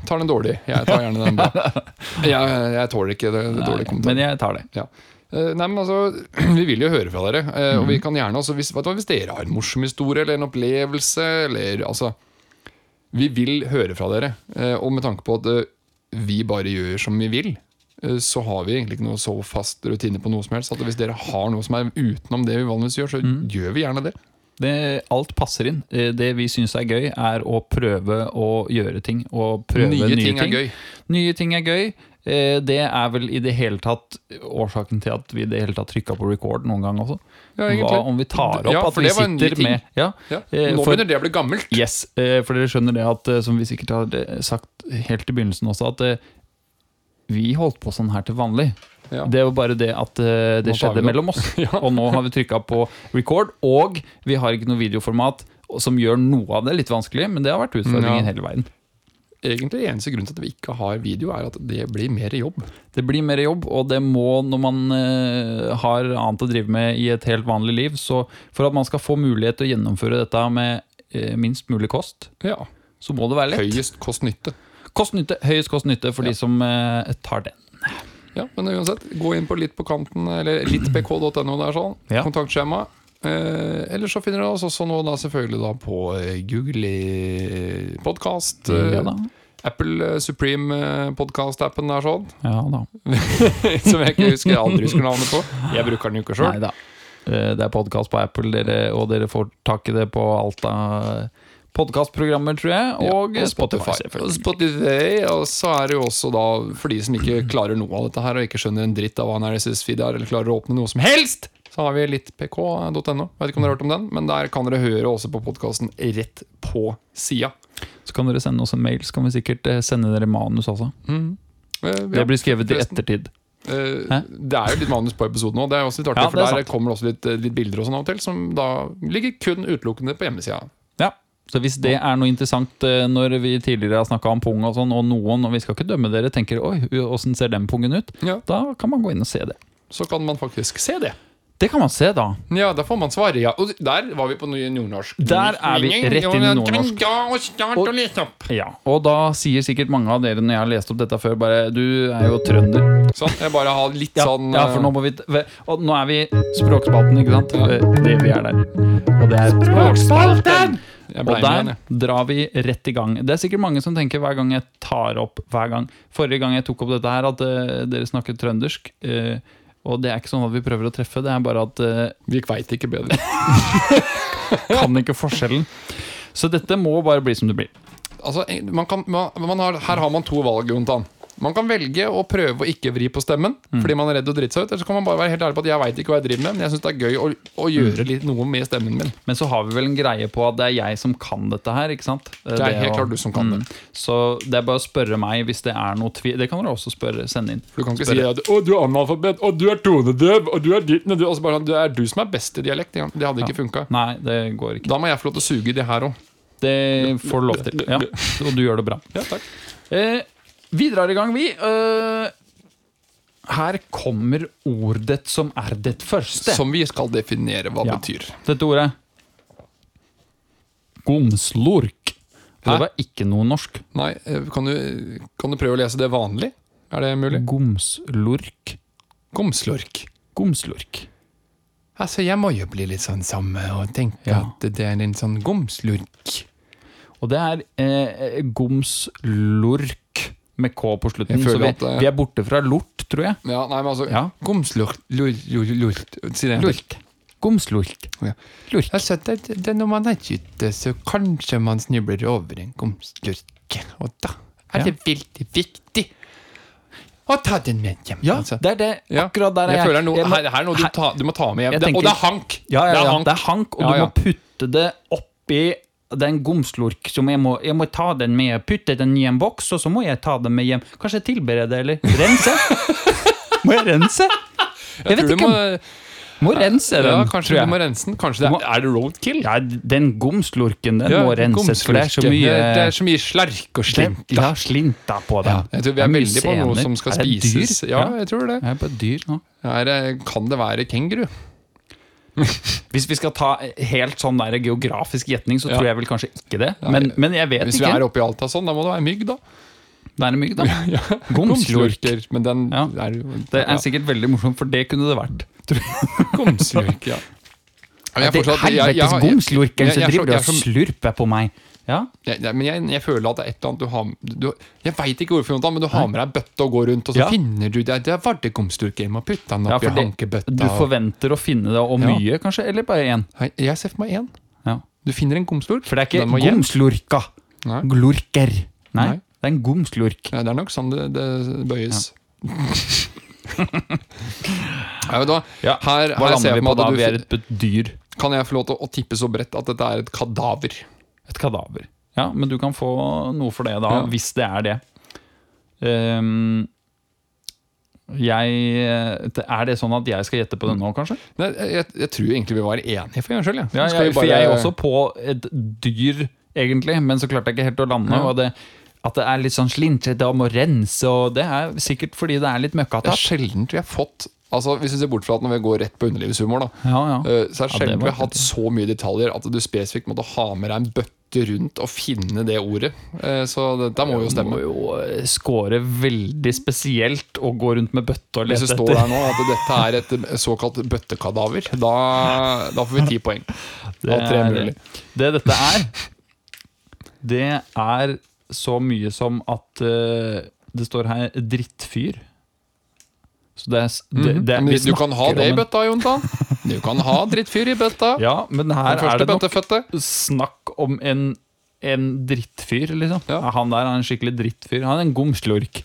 S1: tar den dårlig. Jeg tar gjerne
S2: (laughs)
S1: den bra. Jeg, jeg tåler ikke det, det dårlige kommentarer.
S2: Men jeg tar det.
S1: Ja. Eh, Nei, men altså, (clears throat) Vi vil jo høre fra dere. eh, Og vi
S2: Mhm.
S1: kan gjerne også, hvis, vet du hva, hvis dere har en morsom historie eller en opplevelse eller, altså, Vi vil høre fra dere. Eh, Og med tanke på at eh, vi bare gjør som vi vil, eh, så har vi egentlig ikke noe så fast rutine på noe som helst. At hvis dere har noe som er utenom det vi vanligvis gjør, så
S2: Mhm.
S1: gjør vi gjerne det.
S2: det. Alt passer inn. Eh, Det vi syns er gøy, er å prøve å gjøre ting. Og prøve nye,
S1: ting er gøy.
S2: Nye ting er gøy. Eh, Det er vel i det hele tatt årsaken til at vi i det hele tatt trykka på record noen gang også.
S1: Ja, egentlig.
S2: Hva om vi tar opp
S1: Ja,
S2: at
S1: for
S2: vi
S1: det var en ny
S2: sitter
S1: ting.
S2: med ja,
S1: Ja.
S2: eh,
S1: Nå
S2: for-
S1: begynner det å bli gammelt.
S2: Yes, eh, for dere skjønner det at eh, Som vi sikkert har eh, sagt helt i begynnelsen også At eh, vi holdt på sånn her til vanlig
S1: Ja.
S2: Det var bare det at eh, det
S1: Nå tar vi
S2: skjedde
S1: det opp.
S2: mellom oss
S1: (laughs)
S2: Og nå har vi trykket på record Og vi har ikke noe videoformat Som gjør noe av det litt vanskelig Men det har vært utfordringen
S1: Ja.
S2: hele veien
S1: Egentlig Eneste grunn til at vi ikke har video, er at det blir mer jobb.
S2: det blir mer jobb, og det må når man eh, har annet å drive med i et helt vanlig liv. Så for at man skal få mulighet til å gjennomføre dette med eh, minst mulig kost,
S1: Ja
S2: så må det være lett.
S1: Høyest kost-nytte.
S2: Kost-nytte, Høyest kost-nytte for de som eh, tar den.
S1: Ja, men uansett, gå inn på litt på kanten, eller littpk.no der sånn.
S2: Ja.
S1: Kontaktskjema. Eh, eller så finner dere oss også nå da selvfølgelig da på eh, Google eh, Podcast. Eh,
S2: Ja da.
S1: Apple eh, Supreme eh, podcast-appen der
S2: (laughs)
S1: sånn.
S2: Ja da.
S1: Som jeg ikke husker jeg aldri husker navnet på. Jeg bruker den jo ikke sjøl.
S2: Nei da. Eh, Det er podkast på Apple, dere, og dere får tak i det på alt av podkastprogrammer, tror jeg. Og,
S1: Ja,
S2: Spotify,
S1: Og
S2: selvfølgelig.
S1: Spotify, og så er det jo også da for de som ikke klarer noe av dette her, og ikke skjønner en dritt av hva en RSS-feed er, eller klarer å åpne noe som helst, så har vi littpk.no. Vet ikke om dere har hørt om den, men der kan dere høre også på podkasten rett på sida.
S2: Så kan dere sende oss en mail, så kan vi sikkert eh, sende dere manus også.
S1: Eh,
S2: Det
S1: ja.
S2: blir skrevet i
S1: forresten.
S2: ettertid.
S1: Eh,
S2: Hæ?
S1: Det er jo litt manus på episoden òg, det er også litt artig,
S2: Ja, det
S1: for
S2: er
S1: der
S2: sant.
S1: kommer det også litt, litt bilder og sånn av og til, som da ligger kun utelukkende på hjemmesida.
S2: Ja, så hvis det er noe interessant eh, når vi tidligere har snakka om pung og sånn, og noen, og vi skal ikke dømme dere, tenker 'oi, åssen ser den pungen ut',
S1: Ja.
S2: da kan man gå inn og se det.
S1: Så kan man faktisk se det.
S2: Det kan man se, da.
S1: Ja, da får man svare ja. Og der var vi på ny- nordnorsk.
S2: Der er vi rett inn i nordnorsk.
S3: Ja, og snart
S2: Og-
S3: å lese opp.
S2: Ja, Og da sier sikkert mange av dere når jeg har lest opp dette før, bare 'du er jo trønder'.
S1: Sånn, jeg bare har litt
S2: Ja,
S1: sånn
S2: ja for nå må vi ve- Og nå er vi Språkspalten, ikke sant?
S1: Ja.
S2: Eh, Det, vi er der. Og det er
S3: Språkspalten!
S1: eh, Jeg ble
S2: Og
S1: med
S2: der
S1: igjen, jeg.
S2: drar vi rett i gang. Det er sikkert mange som tenker hver gang jeg tar opp hver gang. Forrige gang jeg tok opp dette her, at eh, dere snakket trøndersk. eh, og det er ikke sånn at vi prøver å treffe, det er bare at eh,
S1: (laughs) Vi veit ikke bedre. (laughs)
S2: kan ikke forskjellen. Så dette må bare bli som det blir.
S1: Altså, man kan, man, man har, her har man to valg, Jontan. Man kan velge å prøve å ikke vri på stemmen
S2: Mm.
S1: fordi man er redd å drite seg ut. Eller så kan man bare være helt ærlig på at jeg veit ikke hva jeg driver med, men jeg syns det er gøy å, å
S2: Mm.
S1: gjøre litt noe med stemmen min.
S2: Men så har vi vel en greie på at det er jeg som kan dette her, ikke sant? Mm.
S1: Det er helt klart du som kan det.
S2: Så det er bare å spørre meg hvis det er noe tvil. Det kan dere også spørre, sende inn.
S1: For Du kan ikke
S2: Spørre.
S1: si at 'Å, du er analfabet, og du er tonedøv, og du er ditt og du' Og så bare sånn, Det er du som er best i dialekt. Det hadde ikke funka.
S2: Nei, det går ikke.
S1: Da må jeg få lov til å suge i det her òg.
S2: Det får du lov til.
S1: (laughs)
S2: Ja, og du gjør det bra.
S1: Ja, takk.
S2: Eh, vi drar i gang, vi. Eh, her kommer ordet som er det første.
S1: Som vi skal definere hva
S2: Ja.
S1: betyr.
S2: Dette ordet. Gomslork. Det
S1: Hæ?
S2: var ikke noe norsk.
S1: Nei, eh, kan du, kan du prøve å lese det vanlig? Er det mulig?
S2: Gomslork.
S1: Gomslork.
S2: Gomslork.
S1: Altså, jeg må jo bli litt sånn samme og tenke
S2: Ja.
S1: at det er en sånn gomslurk.
S2: Og det er eh, gomslork med K på slutten.
S1: Jeg
S2: Så
S1: føler
S2: vi,
S1: at det-
S2: vi er borte fra lort, tror jeg.
S1: Ja, nei, men altså
S2: Ja.
S1: Gomslurk lur, lur, lur, Si det.
S2: Lork. Gomslork.
S1: Ja.
S2: Lork.
S1: Altså, det, det er når man er ute, så kanskje man snubler over en gomslurk. Og da
S2: Ja.
S1: er det veldig viktig å ta den med hjem.
S2: Ja,
S1: altså.
S2: det er det.
S1: Ja.
S2: Akkurat der er
S1: jeg
S2: jeg.
S1: føler noe,
S2: Jeg må-
S1: her, her er noe du,
S2: her-
S1: ta, du må ta med hjem.
S2: Jeg
S1: Det,
S2: tenker-
S1: og det er hank!
S2: Ja, ja,
S1: det
S2: ja.
S1: er hank.
S2: Det er hank, og
S1: Ja,
S2: du
S1: ja.
S2: må putte det oppi det er en gomslork som jeg må, jeg må ta den med. Putte den i en boks, og så må jeg ta den med hjem. Kanskje tilberede eller
S1: (laughs)
S2: rense? må jeg rense? Jeg,
S1: Jeg
S2: vet
S1: tror du
S2: ikke.
S1: må,
S2: Må, må rense den,
S1: ja, kanskje
S2: tror
S1: du
S2: jeg.
S1: må rense den. Kanskje det
S2: Du må-
S1: er, er det roadkill?
S2: Ja, den gomslorken, den må renses, for det er så
S1: gomslurken.
S2: mye
S1: Det er så mye slark og slink.
S2: Ja, slinta på
S1: Ja,
S2: den.
S1: jeg tror vi er,
S2: Det mye
S1: veldig på noe
S2: sener.
S1: som skal
S2: Er det dyr?
S1: spises. Ja, jeg tror det.
S2: Jeg er på et dyr nå.
S1: Er, det- kan det være kenguru?
S2: Hvis vi skal ta helt sånn der geografisk gjetning, så
S1: Ja.
S2: tror jeg vel kanskje ikke det. Men, men jeg vet
S1: Hvis vi
S2: ikke.
S1: er oppe i Alta sånn, da må det være mygg, da.
S2: Det er en mygg, da.
S1: (laughs)
S2: Gomslork.
S1: Gomslurker. Men den
S2: Ja.
S1: er jo
S2: Det er sånn
S1: ja,
S2: sikkert veldig morsomt, for det kunne det vært.
S1: Gomslurk, ja. Men jeg, fortsatt, jeg, jeg,
S2: Helvetes
S1: har- jeg,
S2: gomslurken
S1: jeg-
S2: som
S1: jeg-
S2: driver
S1: jeg-
S2: og
S1: jeg-
S2: slurper på meg. Ja,
S1: jeg, jeg- men jeg, jeg føler at det er et eller annet du har du, Jeg veit ikke hvorfor, Jonathan, men du har med deg bøtte og går rundt, og så
S2: Ja.
S1: finner du det. Der var det gomslurk. Jeg må putte den
S2: ja
S1: oppi
S2: for det,
S1: hankebøtta.
S2: du
S1: og-
S2: forventer å finne det, og
S1: Ja.
S2: mye kanskje, eller bare én.
S1: Nei, Jeg ser for meg én.
S2: Ja.
S1: Du finner en gomslurk.
S2: For det er
S1: den
S2: ikke
S1: må hjem.
S2: gomslurka.
S1: Nei.
S2: Glurker. Nei,
S1: Nei.
S2: det er en gomslurk.
S1: Ja, det er nok sånn det, det bøyes. Ja. vet du hva?
S2: Ja,
S1: Her,
S2: Hva
S1: her ser jeg
S2: lander vi
S1: på
S2: på
S1: meg
S2: da?
S1: at
S2: Vi er
S1: du,
S2: et dyr.
S1: kan jeg få lov til å tippe så bredt at dette er et kadaver.
S2: Et kadaver. Ja, men du kan få noe for det, da,
S1: Ja.
S2: hvis det er det. Ehm, jeg Er det sånn at jeg skal gjette på det nå, kanskje?
S1: Nei, jeg, jeg tror egentlig vi var enige, for en gangs skyld.
S2: Ja,
S1: Skal vi
S2: jeg, for
S1: bare-
S2: jeg er også på et dyr, egentlig, men så klarte jeg ikke helt å lande.
S1: Ja.
S2: Og det, at det er litt sånn slintrete og må rense, og det er sikkert fordi det er litt
S1: Det er
S2: møkkatatt.
S1: sjelden vi har fått Altså, Hvis du ser bort fra at når vi går rett på underlivshumor, da,
S2: Ja, ja.
S1: eh, så er det
S2: Ja, det
S1: sjelden
S2: var
S1: vi har hatt så mye detaljer at du spesifikt måtte ha med deg en bøtte rote rundt og finne det ordet. Eh, Så dette må jo stemme.
S2: Må jo eh, score veldig spesielt og gå rundt med bøtte og
S1: Hvis
S2: lete
S1: det står
S2: etter.
S1: der nå at dette er et såkalt bøttekadaver, da, da får vi ti poeng.
S2: Det,
S1: Av tre
S2: er-
S1: mulig.
S2: det dette er, det er så mye som at eh, det står her 'drittfyr'. Så det er, s- det, det,
S1: Mhm. Men
S2: vi
S1: du kan ha
S2: snakker
S1: det
S2: om
S1: i
S2: en-
S1: bøtta, Jontan. Du kan ha drittfyr i bøtta.
S2: Ja, men her
S1: Den
S2: er
S1: første
S2: det nok
S1: bøttefødte.
S2: snakk om en, en drittfyr, liksom.
S1: Ja.
S2: Han der er en skikkelig drittfyr. Han er en gomslurk.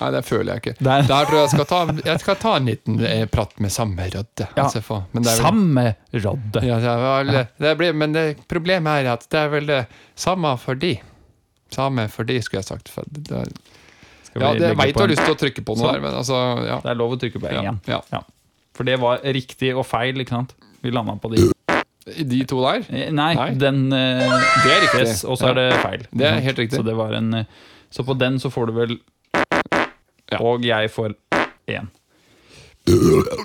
S1: Nei, det føler jeg ikke.
S2: Nei.
S1: Der tror jeg jeg skal ta, jeg skal ta en liten eh, prat med samme rødde.
S2: Ja.
S1: Altså, for- men det er vel-
S2: Samme rodde.
S1: Ja, det er vel, det blir, men det, problemet er at det er vel det samme for de. Samme for de, skulle jeg sagt. For det, det,
S2: Skal vi
S1: ja, det, jeg
S2: legge
S1: veit du
S2: på
S1: har
S2: en-
S1: lyst til å trykke på noe
S2: Sånn.
S1: der, men altså ja.
S2: Det er lov å trykke på en
S1: Ja,
S2: igjen.
S1: ja.
S2: Ja. For det var riktig og feil, ikke sant? Vi landa på de.
S1: De to der,
S2: Eh, Nei,
S1: Nei.
S2: den eh,
S1: det er riktig.
S2: yes, Og så er det feil. ikke
S1: Det er
S2: sant?
S1: helt riktig.
S2: Så, det var en, eh, så på den så får du vel
S1: Ja.
S2: Og jeg får én.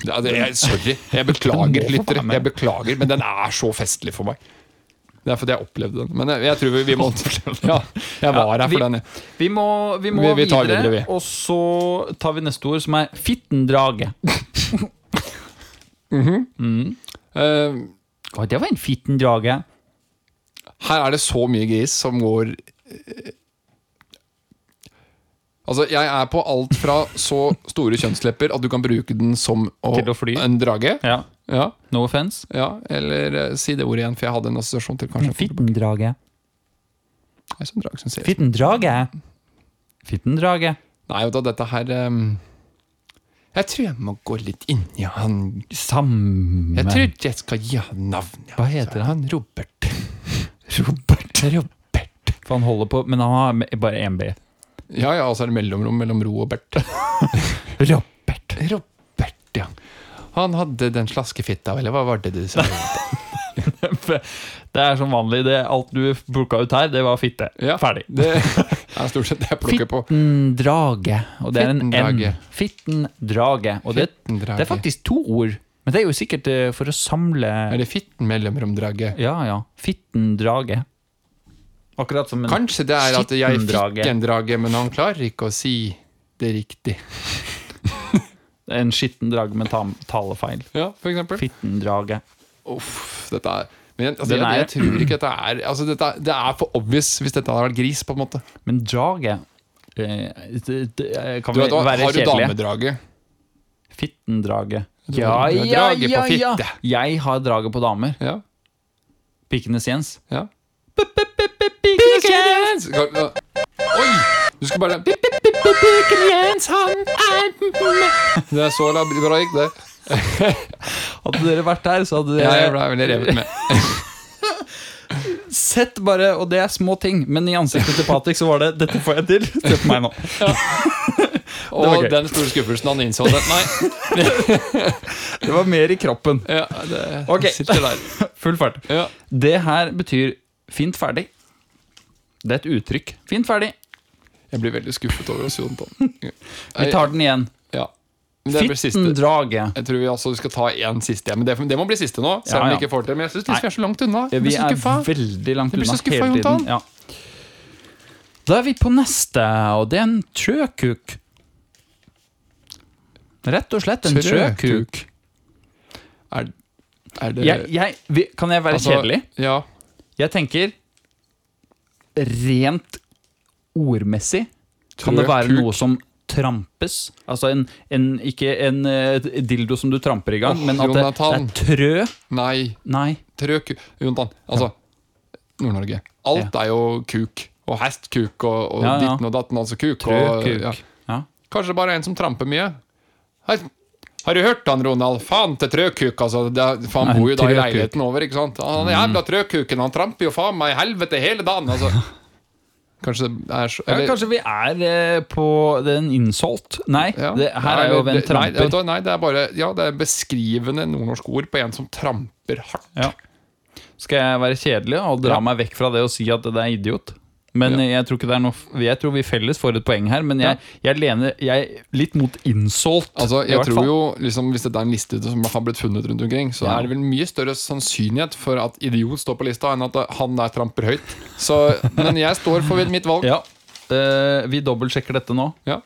S1: Ja, det, jeg, sorry. Jeg beklager,
S2: Den må få
S1: lyttere.
S2: være med.
S1: Jeg beklager, men den er så festlig for meg. Det er fordi jeg opplevde den. Men jeg, jeg tror vi, vi må Ja, jeg var her
S2: vi-
S1: for den. jeg.
S2: Vi må, vi må
S1: Vi- vi tar
S2: videre,
S1: videre, vi.
S2: og så tar vi neste ord, som er fittendrage.
S1: Eh,
S2: Å, det var en fittendrage.
S1: Her er det så mye gris som går eh, Altså, jeg er på alt fra så store kjønnslepper at du kan bruke den som å,
S2: Til å fly.
S1: en drage.
S2: Ja,
S1: Ja,
S2: No offense.
S1: ja, eller eh, si det ordet igjen, for jeg hadde en assosiasjon til kanskje
S2: Fittendrage.
S1: Nei, sånn drag som ser ut.
S2: Fittendrage. Fittendrage.
S1: Nei, vet du, dette her eh, Jeg tror jeg må gå litt inn i han
S2: Sammen
S1: Jeg tror jeg skal gi han navnet.
S2: Hva heter
S1: han? Robert. (laughs) Robert. Robert.
S2: For han holder på, men han har me- bare én B. (laughs)
S1: Ja, ja, og så er det mellomrom mellom Ro og Bert.
S2: Robert.
S1: Robert, ja. Han hadde den slaskefitta, eller hva var det du
S2: (laughs)
S1: sa?
S2: Det er som vanlig. Det, alt du plukka ut her, det var fitte.
S1: Ja.
S2: Ferdig.
S1: Det (laughs) er stort sett det jeg plukker på.
S2: Fittendrage. Og det er en N.
S1: Fittendrage.
S2: Fittendrage. Og det,
S1: Fittendrage.
S2: det er faktisk to ord. Men det er jo sikkert eh, for å samle
S1: Er det fitten mellomromdraget?
S2: Ja, ja. Fittendrage. Akkurat som en
S1: Kanskje det er at jeg fikk
S2: Skittendrage.
S1: en drage, men han klarer ikke å si det riktig.
S2: En skitten drage med tam- talefeil.
S1: Ja, for eksempel.
S2: Fittendrage.
S1: Uff, dette er men jeg, altså,
S2: Den
S1: jeg,
S2: er-
S1: jeg tror ikke dette er altså, dette, er- Det er for obvious hvis dette hadde vært gris, på en måte.
S2: Men drage eh, det, det, eh,
S1: Du
S2: Kan vi
S1: vet, hva,
S2: være
S1: har du
S2: kjedelige?
S1: damedrage?
S2: Fittendrage.
S1: Du har- du har draget på fitte.
S2: Jeg har draget på damer.
S1: Ja.
S2: Pikenes Jens.
S1: ja. Skal- ja. Oi! Du skal bare
S3: Jens, han er
S1: Det er så la- bra gikk, det.
S2: Hadde dere vært der, så hadde dere
S1: Jeg ble veldig revet
S2: (laughs)
S1: med.
S2: sett bare Og det er små ting, men i ansiktet til Patrick så var det 'dette får jeg til'. Se på meg nå. var
S1: Og
S2: gøy.
S1: den store skuffelsen han innså det. Nei,
S2: Det var mer i kroppen.
S1: ja, det
S2: Ok.
S1: sitter der.
S2: Full fart.
S1: Ja.
S2: Det her betyr 'fint ferdig'. Det er et uttrykk. Fint ferdig.
S1: Jeg blir veldig skuffet over oss, Jontan.
S2: Vi tar den igjen.
S1: ja. Men det blir siste.
S2: Fittendrage.
S1: Jeg tror vi, altså, vi skal ta én siste, men det, det må bli siste nå. Selv om
S2: Ja, ja.
S1: vi ikke får til. Men jeg syns vi
S2: Nei.
S1: er så langt unna. Jeg
S2: Vi
S1: blir så
S2: er
S1: skuffa.
S2: veldig langt
S1: Jeg blir
S2: unna
S1: så skuffa,
S2: hele
S1: Jontan.
S2: tiden. Ja. Da er vi på neste, og det er en trøkuk. Rett og slett en
S1: Trøkuk.
S2: trøkuk.
S1: Er, er det
S2: Jeg, jeg, vi- kan jeg være
S1: altså,
S2: kjedelig?
S1: Ja.
S2: Jeg tenker Rent ordmessig kan det være
S1: Trøkuk.
S2: noe som trampes. Altså en, en, ikke en eh, dildo som du tramper i gang,
S1: Åh,
S2: men at det, det
S1: Jonathan.
S2: er trø
S1: Nei,
S2: Nei.
S1: trøk Jontan, altså Nord-Norge. Alt er jo kuk. Og hestkuk og, og
S2: Ja, ja.
S1: ditten og datten, altså kuk. og-
S2: Trøkuk.
S1: ja.
S2: Ja.
S1: Kanskje det bare er en som tramper mye. Har, har du hørt han, Ronald? Faen til trøkuk, altså. Det, er- for han
S2: Nei,
S1: bor jo da i
S2: trøkuk. Mm.
S1: leiligheten over, ikke sant? Han er jævla trøkuken, han tramper jo faen meg i helvete hele dagen,
S2: (laughs)
S1: altså. Kanskje det er så
S2: Ja,
S1: eller-
S2: kanskje vi er eh, på den insult? Nei,
S1: ja.
S2: det, her er jo
S1: Nei, det- Nei,
S2: en
S1: vet
S2: tramper.
S1: du hva, nei, det er bare Ja, det er beskrivende nordnorsk ord på en som tramper hardt.
S2: Ja. Skal jeg være kjedelig og dra
S1: Ja.
S2: meg vekk fra det og si at det er idiot? Men
S1: Ja.
S2: eh, jeg tror ikke det er noe f- Jeg tror vi felles får et poeng her, men jeg, jeg lener jeg, litt mot insult.
S1: Altså,
S2: i
S1: jeg
S2: hvert
S1: tror
S2: fall.
S1: jo, liksom, Hvis dette er en liste som har blitt funnet rundt omkring, så
S2: Ja.
S1: er det vel mye større sannsynlighet for at idiot står på lista, enn at han der tramper høyt. Så, men jeg står for mitt valg.
S2: ja. Eh, Vi dobbeltsjekker dette nå.
S1: Ja.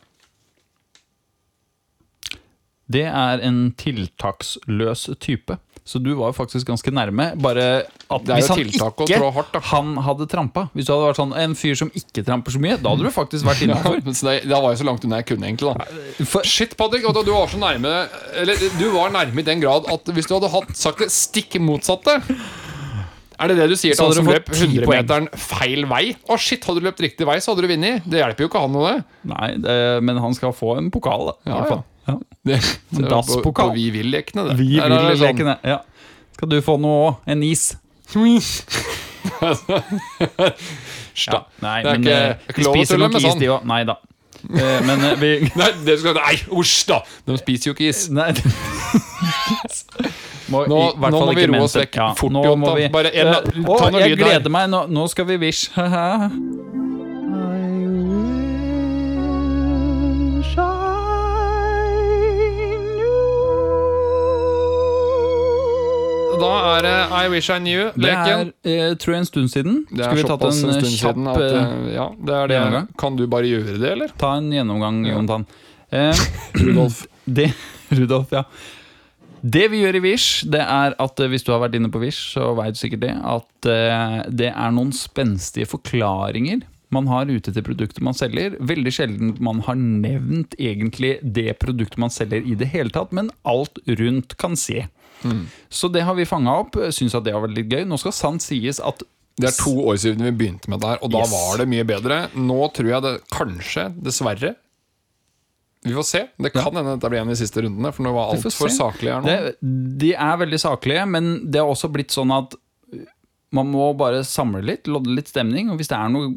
S2: Det er en tiltaksløs type. Så du var jo faktisk ganske nærme. Bare at
S1: Det er
S2: hvis
S1: jo
S2: han
S1: tiltak å
S2: ikke
S1: trå hardt, da.
S2: han hadde trampa Hvis du hadde vært sånn en fyr som ikke tramper så mye, da hadde du faktisk
S1: (laughs)
S2: vært
S1: Ja,
S2: innafor.
S1: men så det, da var jeg så langt unna jeg kunne, egentlig. da Shit, Patrick, og da du var så nærme Eller du var nærme i den grad at hvis du hadde hatt, sagt det stikk motsatte Er det det du sier til
S2: Så
S1: han som
S2: hadde du
S1: løp
S2: fått ti
S1: 100-meteren feil vei? Å shit, hadde du løpt riktig vei, så hadde du vunnet. Det hjelper jo ikke han noe, det.
S2: Nei, det, men han skal få en pokal, da. i
S1: Ja,
S2: hvert fall. Ja.
S1: det, det er på, på
S2: Dasspokal.
S1: Vi vil-lekene, det.
S2: Vi
S1: Der er
S2: vil
S1: det sånn-
S2: leke det. Ja. Skal du få noe òg? En is?
S1: (laughs) Sta.
S2: Nei,
S1: Det er
S2: men
S1: ikke-
S2: eh,
S1: det er ikke
S2: de
S1: lov å
S2: spiser
S1: tulle
S2: nok
S1: med
S2: is,
S1: sånn.
S2: de òg. Nei da. Eh, Men eh, vi (laughs)
S1: Nei, det skal, nei, oh, usj, da! De spiser jo ikke is.
S2: Nei. Må, i
S1: Nå,
S2: hvert
S1: nå må
S2: fall
S1: vi
S2: ikke
S1: roe oss
S2: mente.
S1: vekk
S2: Ja,
S1: fort,
S2: nå
S1: Jon.
S2: må
S1: da.
S2: vi-
S1: Bare en,
S2: Eh,
S1: ta
S2: å,
S1: noe
S2: jeg
S1: lyd der.
S2: gleder meg. Nå, nå skal vi (laughs) wish. Haha.
S1: Da er det I Wish I
S2: det
S1: Knew-leken.
S2: er eh, tror jeg en stund siden.
S1: Det
S2: Skal
S1: er
S2: vi ta
S1: såpass
S2: en,
S1: en
S2: eh,
S1: stund
S2: kjapp
S1: siden at
S2: eh,
S1: eh, Ja, det er det.
S2: gjennomgang?
S1: Kan du bare gjøre det, eller?
S2: Ta en gjennomgang,
S1: Ja.
S2: Jontan. Eh,
S1: (clears throat) Rudolf.
S2: (clears throat) det, Rudolf, ja. Det vi gjør i Wish, det er at eh, hvis du har vært inne på Wish, så veit du sikkert det, at eh, det er noen spenstige forklaringer man har ute til produktet man selger. Veldig sjelden man har nevnt egentlig det produktet man selger i det hele tatt, men alt rundt kan se.
S1: Mm.
S2: Så det har vi fanga opp. Syns at det har vært litt gøy. Nå skal sant sies at
S1: Det er to år siden vi begynte med det her, og da
S2: Yes.
S1: var det mye bedre. Nå tror jeg det kanskje, dessverre Vi får se. Det kan hende dette blir en av de siste rundene, for nå var
S2: Vi får
S1: altfor
S2: se.
S1: saklig her nå.
S2: Det, de er veldig saklige, men det er også blitt sånn at man må bare samle litt, lodde litt stemning. Og hvis det er noe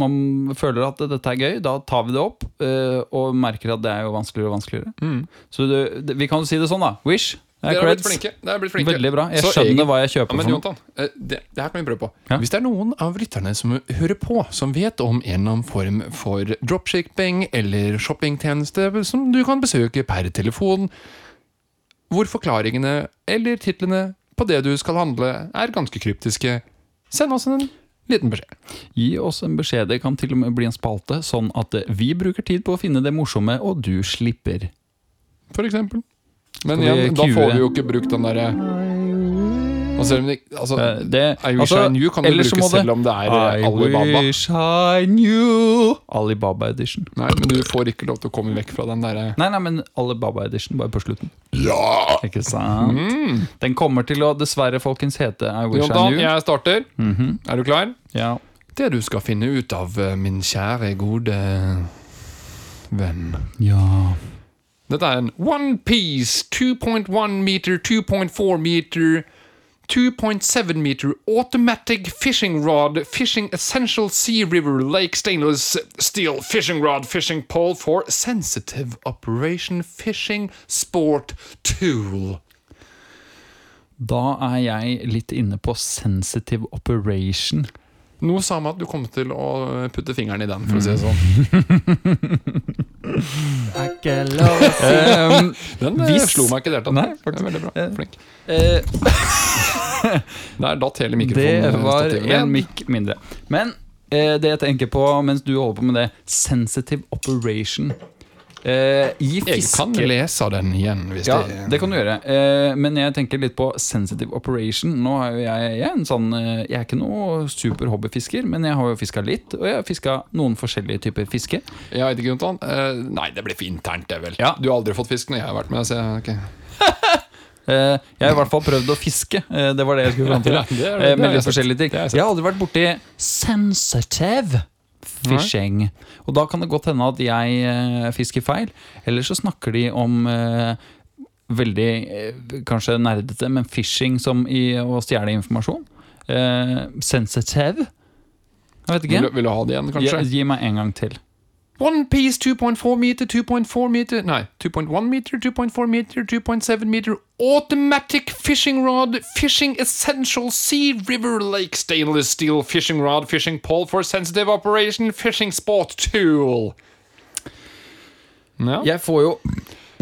S2: man føler at dette er gøy, da tar vi det opp. eh, Og merker at det er jo vanskeligere og vanskeligere. Så det, det, vi kan jo si det sånn, da. Wish. Det er
S1: Mm. Dere har blitt
S2: creds.
S1: flinke. Dere har blitt flinke.
S2: Veldig bra. Jeg
S1: Så
S2: skjønner hva jeg kjøper
S1: ja, men,
S2: for noe.
S1: Jonathan, eh, det, det her kan vi prøve på.
S2: Ja.
S1: Hvis det er noen av lytterne som hører på, som vet om en eller annen form for dropshipping eller shoppingtjeneste som du kan besøke per telefon, hvor forklaringene eller titlene på det du skal handle, er ganske kryptiske, send oss en liten beskjed.
S2: Gi oss en beskjed. Det kan til og med bli en spalte, sånn at eh, vi bruker tid på å finne det morsomme, og du slipper.
S1: for eksempel. Men
S2: Skal vi
S1: igjen, da
S2: queue
S1: får
S2: det?
S1: vi jo ikke brukt den derre Og selv om det altså,
S2: Eh, det-
S1: I wish
S2: altså,
S1: I knew kan du
S2: ellers så
S1: bruke
S2: må det-
S1: selv om det er eh,
S2: I
S1: Alibaba.
S2: wish I knew Alibaba edition.
S1: Nei, men du får ikke lov til å komme vekk fra den derre
S2: Nei, nei, men Alibaba edition bare på slutten.
S1: Ja!
S2: Ikke sant?
S1: Mm.
S2: Den kommer til å dessverre, folkens, hete I wish
S1: Jontan,
S2: I knew.
S1: jeg starter.
S2: Mhm.
S1: Er du klar?
S2: Ja.
S1: Det du skal finne ut av, eh, min kjære, gode eh, venn
S2: ja.
S1: Dette er en One Piece 2.1 meter, 2.4 meter, 2.7 meter automatic fishing rod, fishing essential sea river, lake stainless steel fishing rod, fishing pole for sensitive operation fishing sport tool.
S2: Da er jeg litt inne på sensitive operation.
S1: Noe sa meg at du kom til å putte fingeren i den, for å si det
S2: Mm.
S1: sånn.
S2: Um,
S1: Den eh,
S2: Hvis-
S1: slo meg ikke i det hele tatt.
S2: Nei,
S1: Det er Veldig bra.
S2: Eh,
S1: Flink.
S2: eh,
S1: Der datt hele
S2: det
S1: mikrofonen.
S2: var
S1: stativet
S2: en
S1: igjen.
S2: mikk mindre. Men eh, det jeg tenker på mens du holder på med det, sensitive operation eh, I
S1: Jeg kan
S2: fiske...
S1: lese den igjen, hvis
S2: Ja,
S1: det
S2: det kan du gjøre. Eh, men jeg tenker litt på sensitive operation. Nå er jo jeg, jeg er en sånn eh, Jeg er ikke noe super hobbyfisker, men jeg har jo fiska litt. Og jeg har fiska noen forskjellige typer fiske.
S1: Jeg vet ikke, Jontan. Eh, nei, det blir for internt, det vel.
S2: Ja.
S1: Du har aldri fått fisk når jeg har vært med. Så jeg, ok.
S2: Eh, jeg har i hvert fall prøvd å fiske. Eh, det var det jeg skulle fram til.
S1: Ja, det er-
S2: eh,
S1: det har jeg
S2: med litt
S1: sett.
S2: forskjellige ting.
S1: Det har jeg
S2: Jeg har aldri vært borti sensitive fishing. Og da kan det godt hende at jeg eh, fisker feil. Eller så snakker de om eh, veldig eh, kanskje nerdete, men fishing som i å stjele informasjon. Eh, sensitive. Jeg vet
S1: Vil,
S2: ikke.
S1: du- vil du ha det igjen, kanskje?
S2: Gi, gi meg en gang til.
S1: One piece 2.4 meter, 2.4 meter Nei, 2.1 meter, 2.4 meter, 2.7 meter Automatic fishing rod, fishing essential, sea, river, lake, stainless steel fishing rod, fishing pole for sensitive operation, fishing sport tool. Ja,
S2: Jeg får jo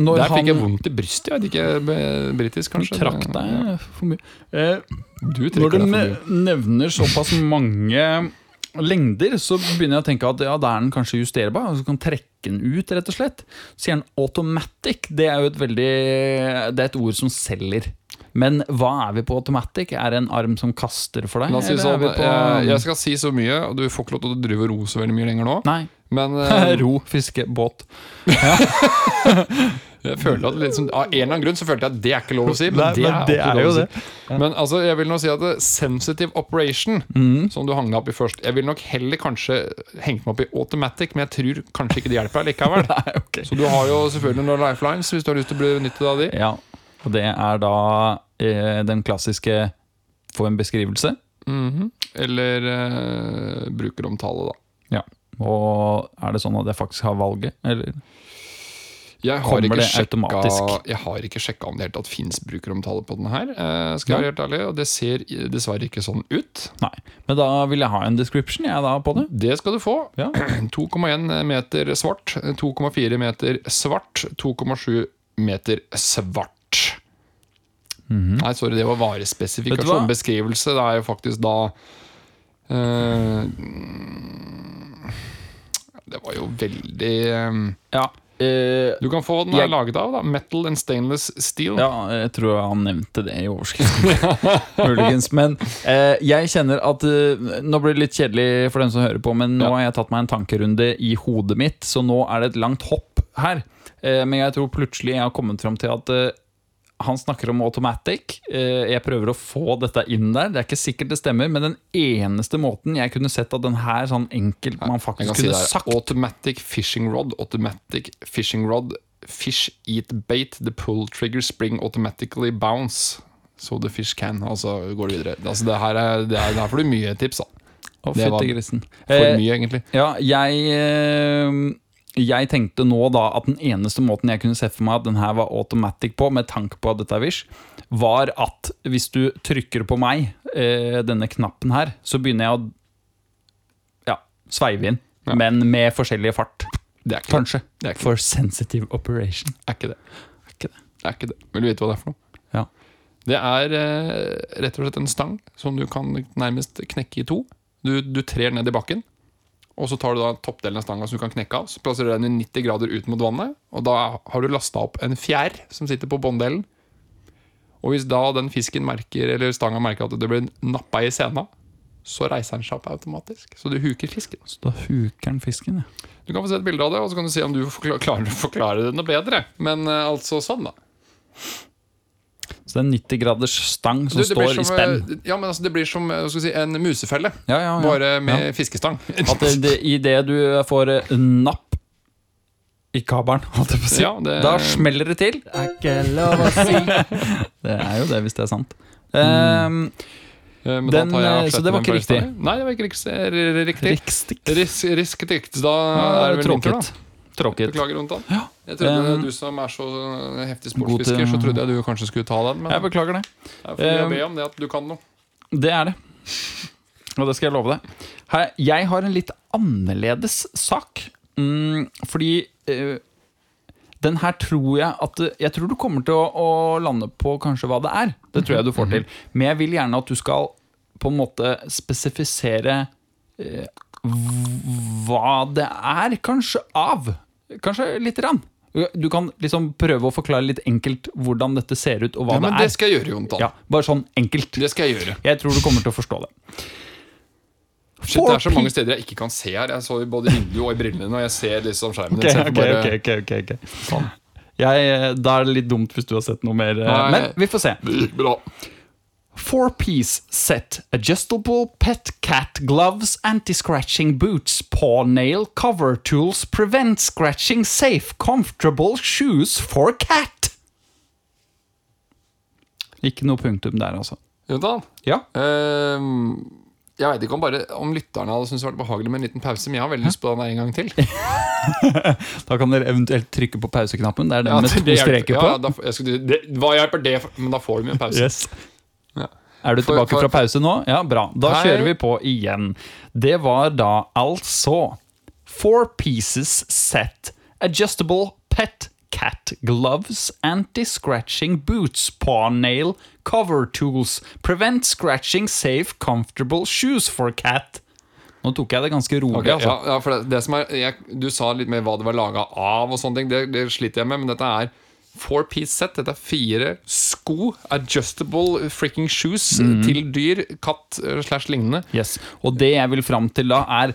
S2: Når
S1: Der fikk jeg
S2: han
S1: vondt i brystet. Jeg vet ikke, b- britisk kanskje?
S2: trakk deg for mye eh,
S1: Du
S2: Når
S1: trekker
S2: du
S1: deg for
S2: ne
S1: mye.
S2: nevner såpass mange lengder, så begynner jeg å tenke at ja, da er den kanskje justerbar. og Så kan trekke den ut, rett og slett. Så sier den automatic. Det er jo et veldig Det er et ord som selger. Men hva er vi på automatic? Er det en arm som kaster for deg?
S1: La oss si
S2: eller
S1: sånn,
S2: er vi på-
S1: eh, jeg skal si så mye, og du får ikke lov til å drive og ro så veldig mye lenger nå.
S2: Nei. (laughs)
S1: Men eh,
S2: Ro, fiske,
S1: (laughs)
S2: båt.
S1: jeg føler at det liksom, av en eller annen grunn så følte jeg at det er ikke lov å si. Men,
S2: Nei,
S1: det,
S2: men
S1: er
S2: det
S1: alltid
S2: er
S1: lov å
S2: jo
S1: si. Men altså, jeg vil nå si at eh, sensitive operation,
S2: Mhm.
S1: som du hang deg opp i først Jeg vil nok heller kanskje hengt meg opp i automatic, men jeg tror kanskje ikke det hjelper deg
S2: (laughs)
S1: likevel.
S2: Nei, ok.
S1: Så du har jo selvfølgelig noen lifelines hvis du har lyst til å benytte deg av de.
S2: Ja, og det er da eh, den klassiske få en beskrivelse. Mhm.
S1: Eller eh, brukeromtale, da.
S2: Ja. Og er det sånn at jeg faktisk har valget, eller?
S1: Jeg har,
S2: Kommer
S1: ikke
S2: det
S1: sjekka,
S2: automatisk?
S1: jeg har ikke sjekka om det helt tatt fins brukeromtale på den her. eh, skal jeg være helt ærlig Og det ser i- dessverre ikke sånn ut.
S2: Nei, men da vil jeg ha en description jeg da på det.
S1: Det skal du få.
S2: Ja.
S1: (clears throat) 2,1 meter svart, 2,4 meter svart, 2,7 meter svart. Nei, sorry, det var
S2: Mhm. Vet du hva?
S1: varespesifikasjon. Beskrivelse det er jo faktisk da eh, Det var jo veldig eh,
S2: Ja, eh,
S1: Du kan få hva den er
S2: Jeg-
S1: laget av, da. Metal and stainless steel.
S2: ja jeg tror han nevnte det i overskriften. (laughs) Muligens. Men eh, jeg kjenner at eh, Nå blir det litt kjedelig for dem som hører på, men nå
S1: Ja.
S2: har jeg tatt meg en tankerunde i hodet mitt, så nå er det et langt hopp her. Eh, men jeg tror plutselig jeg har kommet fram til at eh, han snakker om automatic. Eh, Jeg prøver å få dette inn der. Det er ikke sikkert det stemmer, men den eneste måten jeg kunne sett at den her sånn enkelt man
S1: Jeg
S2: faktisk
S1: kan si det
S2: kunne
S1: her.
S2: sagt
S1: Automatic fishing rod, automatic fishing rod, fish eat bait, the pull trigger spring automatically bounce. So the fish can. Og så går det videre. Altså, det, her er, det, er, det her får du mye tips, da.
S2: Å,
S1: Det var
S2: fytti grisen.
S1: For
S2: Eh,
S1: mye, egentlig.
S2: Ja, jeg eh, Jeg tenkte nå da at den eneste måten jeg kunne se for meg at den her var automatic på, med tanke på at dette er Wish, var at hvis du trykker på meg, eh, denne knappen her, så begynner jeg å ja, sveive inn.
S1: Ja.
S2: Men med forskjellig fart.
S1: Det er ikke det.
S2: Kanskje.
S1: Det er ikke
S2: For sensitive operation.
S1: Er ikke det.
S2: ikke det.
S1: Er ikke det. Vil du vite hva det er for noe?
S2: Ja.
S1: Det er eh, rett og slett en stang som du kan nærmest knekke i to. Du, du trer ned i bakken, og så tar du da toppdelen av stanga som du kan knekke av. Så plasserer du den i 90 grader ut mot vannet, og da har du lasta opp en fjær som sitter på bånddelen. Og hvis da den fisken merker, eller stanga merker at det blir nappa i sena, så reiser den seg opp automatisk. Så du huker fisken.
S2: Så da huker den fisken, ja.
S1: Du kan få se et bilde av det, og så kan du se om du forkla- klarer å forklare det noe bedre. Men eh, altså sånn, da.
S2: Så det er en 90 graders stang som
S1: Du, det blir
S2: står i
S1: som,
S2: spenn.
S1: eh, Ja, men altså, det blir som eh, hva skal vi si, en musefelle,
S2: Ja, ja, ja.
S1: bare med fiskestang.
S2: (laughs) At det, det, i det du får eh, napp i kabelen, holdt jeg på å si,
S1: Ja, det- eh,
S2: da smeller det til.
S3: Er ikke lov å si.
S2: (laughs) Det er jo det, hvis det er sant. Ehm,
S1: Eh, men
S2: Den,
S1: da tar jeg
S2: eh,
S1: avskjed
S2: så det var
S1: med en
S2: ikke
S1: par steg. Nei, det var ikke riks- r- r- riktig.
S2: Rikstikk.
S1: Ris risketikt. Da er det vel vinter,
S2: Tråkket.
S1: da.
S2: Tråkket.
S1: Beklager, Jontan. Jeg trodde
S2: Um,
S1: du som er så eh, heftig
S2: god til-
S1: sportsfisker, så trodde jeg du kanskje skulle ta den, men
S2: Jeg beklager det.
S1: det er for mye
S2: um,
S1: å be om det at du kan noe.
S2: Det er det. Og det skal jeg love deg. Her, jeg har en litt annerledes sak. Mm, fordi eh, den her tror jeg at Jeg tror du kommer til å, å lande på kanskje hva det er. Det tror jeg
S1: Mhm.
S2: du får til. Men jeg vil gjerne at du skal på en måte spesifisere eh, hv- hva det er, kanskje av. Kanskje lite grann. Du kan liksom prøve å forklare litt enkelt hvordan dette ser ut, og hva
S1: Ja, men
S2: det
S1: det
S2: er.
S1: skal jeg gjøre, Jontan.
S2: Ja, bare sånn enkelt.
S1: Det skal jeg gjøre.
S2: Jeg tror du kommer til å forstå det.
S1: Shit, det er så
S2: Four
S1: mange steder jeg ikke kan se her. Jeg så i både vinduet og i brillene, og jeg ser liksom skjermen.
S2: Ok,
S1: din, så jeg får
S2: ok,
S1: bare- sånn.
S2: ok, ok, ok, ok. Jeg, eh, da er det litt dumt hvis du har sett noe mer. eh,
S1: Nei.
S2: Men vi får se.
S1: Det gikk bra.
S2: Four-piece set, adjustable pet cat gloves, anti-scratching boots, paw nail cover tools, prevent scratching, safe, comfortable shoes for cat. Ikke noe punktum der, altså.
S1: Jontan,
S2: Ja,
S1: Ehm, Jeg veit ikke om, bare, om lytterne hadde syntes det var behagelig med en liten pause, men jeg har veldig lyst på den der en gang
S2: (laughs)
S1: til.
S2: Da kan dere eventuelt trykke på pauseknappen. Det er den
S1: Ja,
S2: med
S1: det
S2: to
S1: hjelper-
S2: streker
S1: ja,
S2: på.
S1: da, f- jeg skulle, det, hva hjelper det? for- Men da får de jo en pause.
S2: Yes.
S1: Ja.
S2: Er du
S1: For-
S2: tilbake
S1: for-
S2: fra pause nå? Ja, bra. Da
S1: Hei.
S2: kjører vi på igjen. Det var da altså Four pieces set adjustable pet cat gloves, anti-scratching boots, paw nail, cover tools, prevent scratching, safe, comfortable shoes for cat. Nå tok jeg det ganske rolig,
S1: Ok,
S2: altså.
S1: ja, ja, for det, det som er, jeg, Du sa litt mer hva det var laga av, og sånne ting. Det, det sliter jeg med, men dette er four piece set. Dette er fire sko, adjustable fricking shoes
S2: Mm.
S1: til dyr, katt eh, slash lignende.
S2: Yes. Og det jeg vil fram til da, er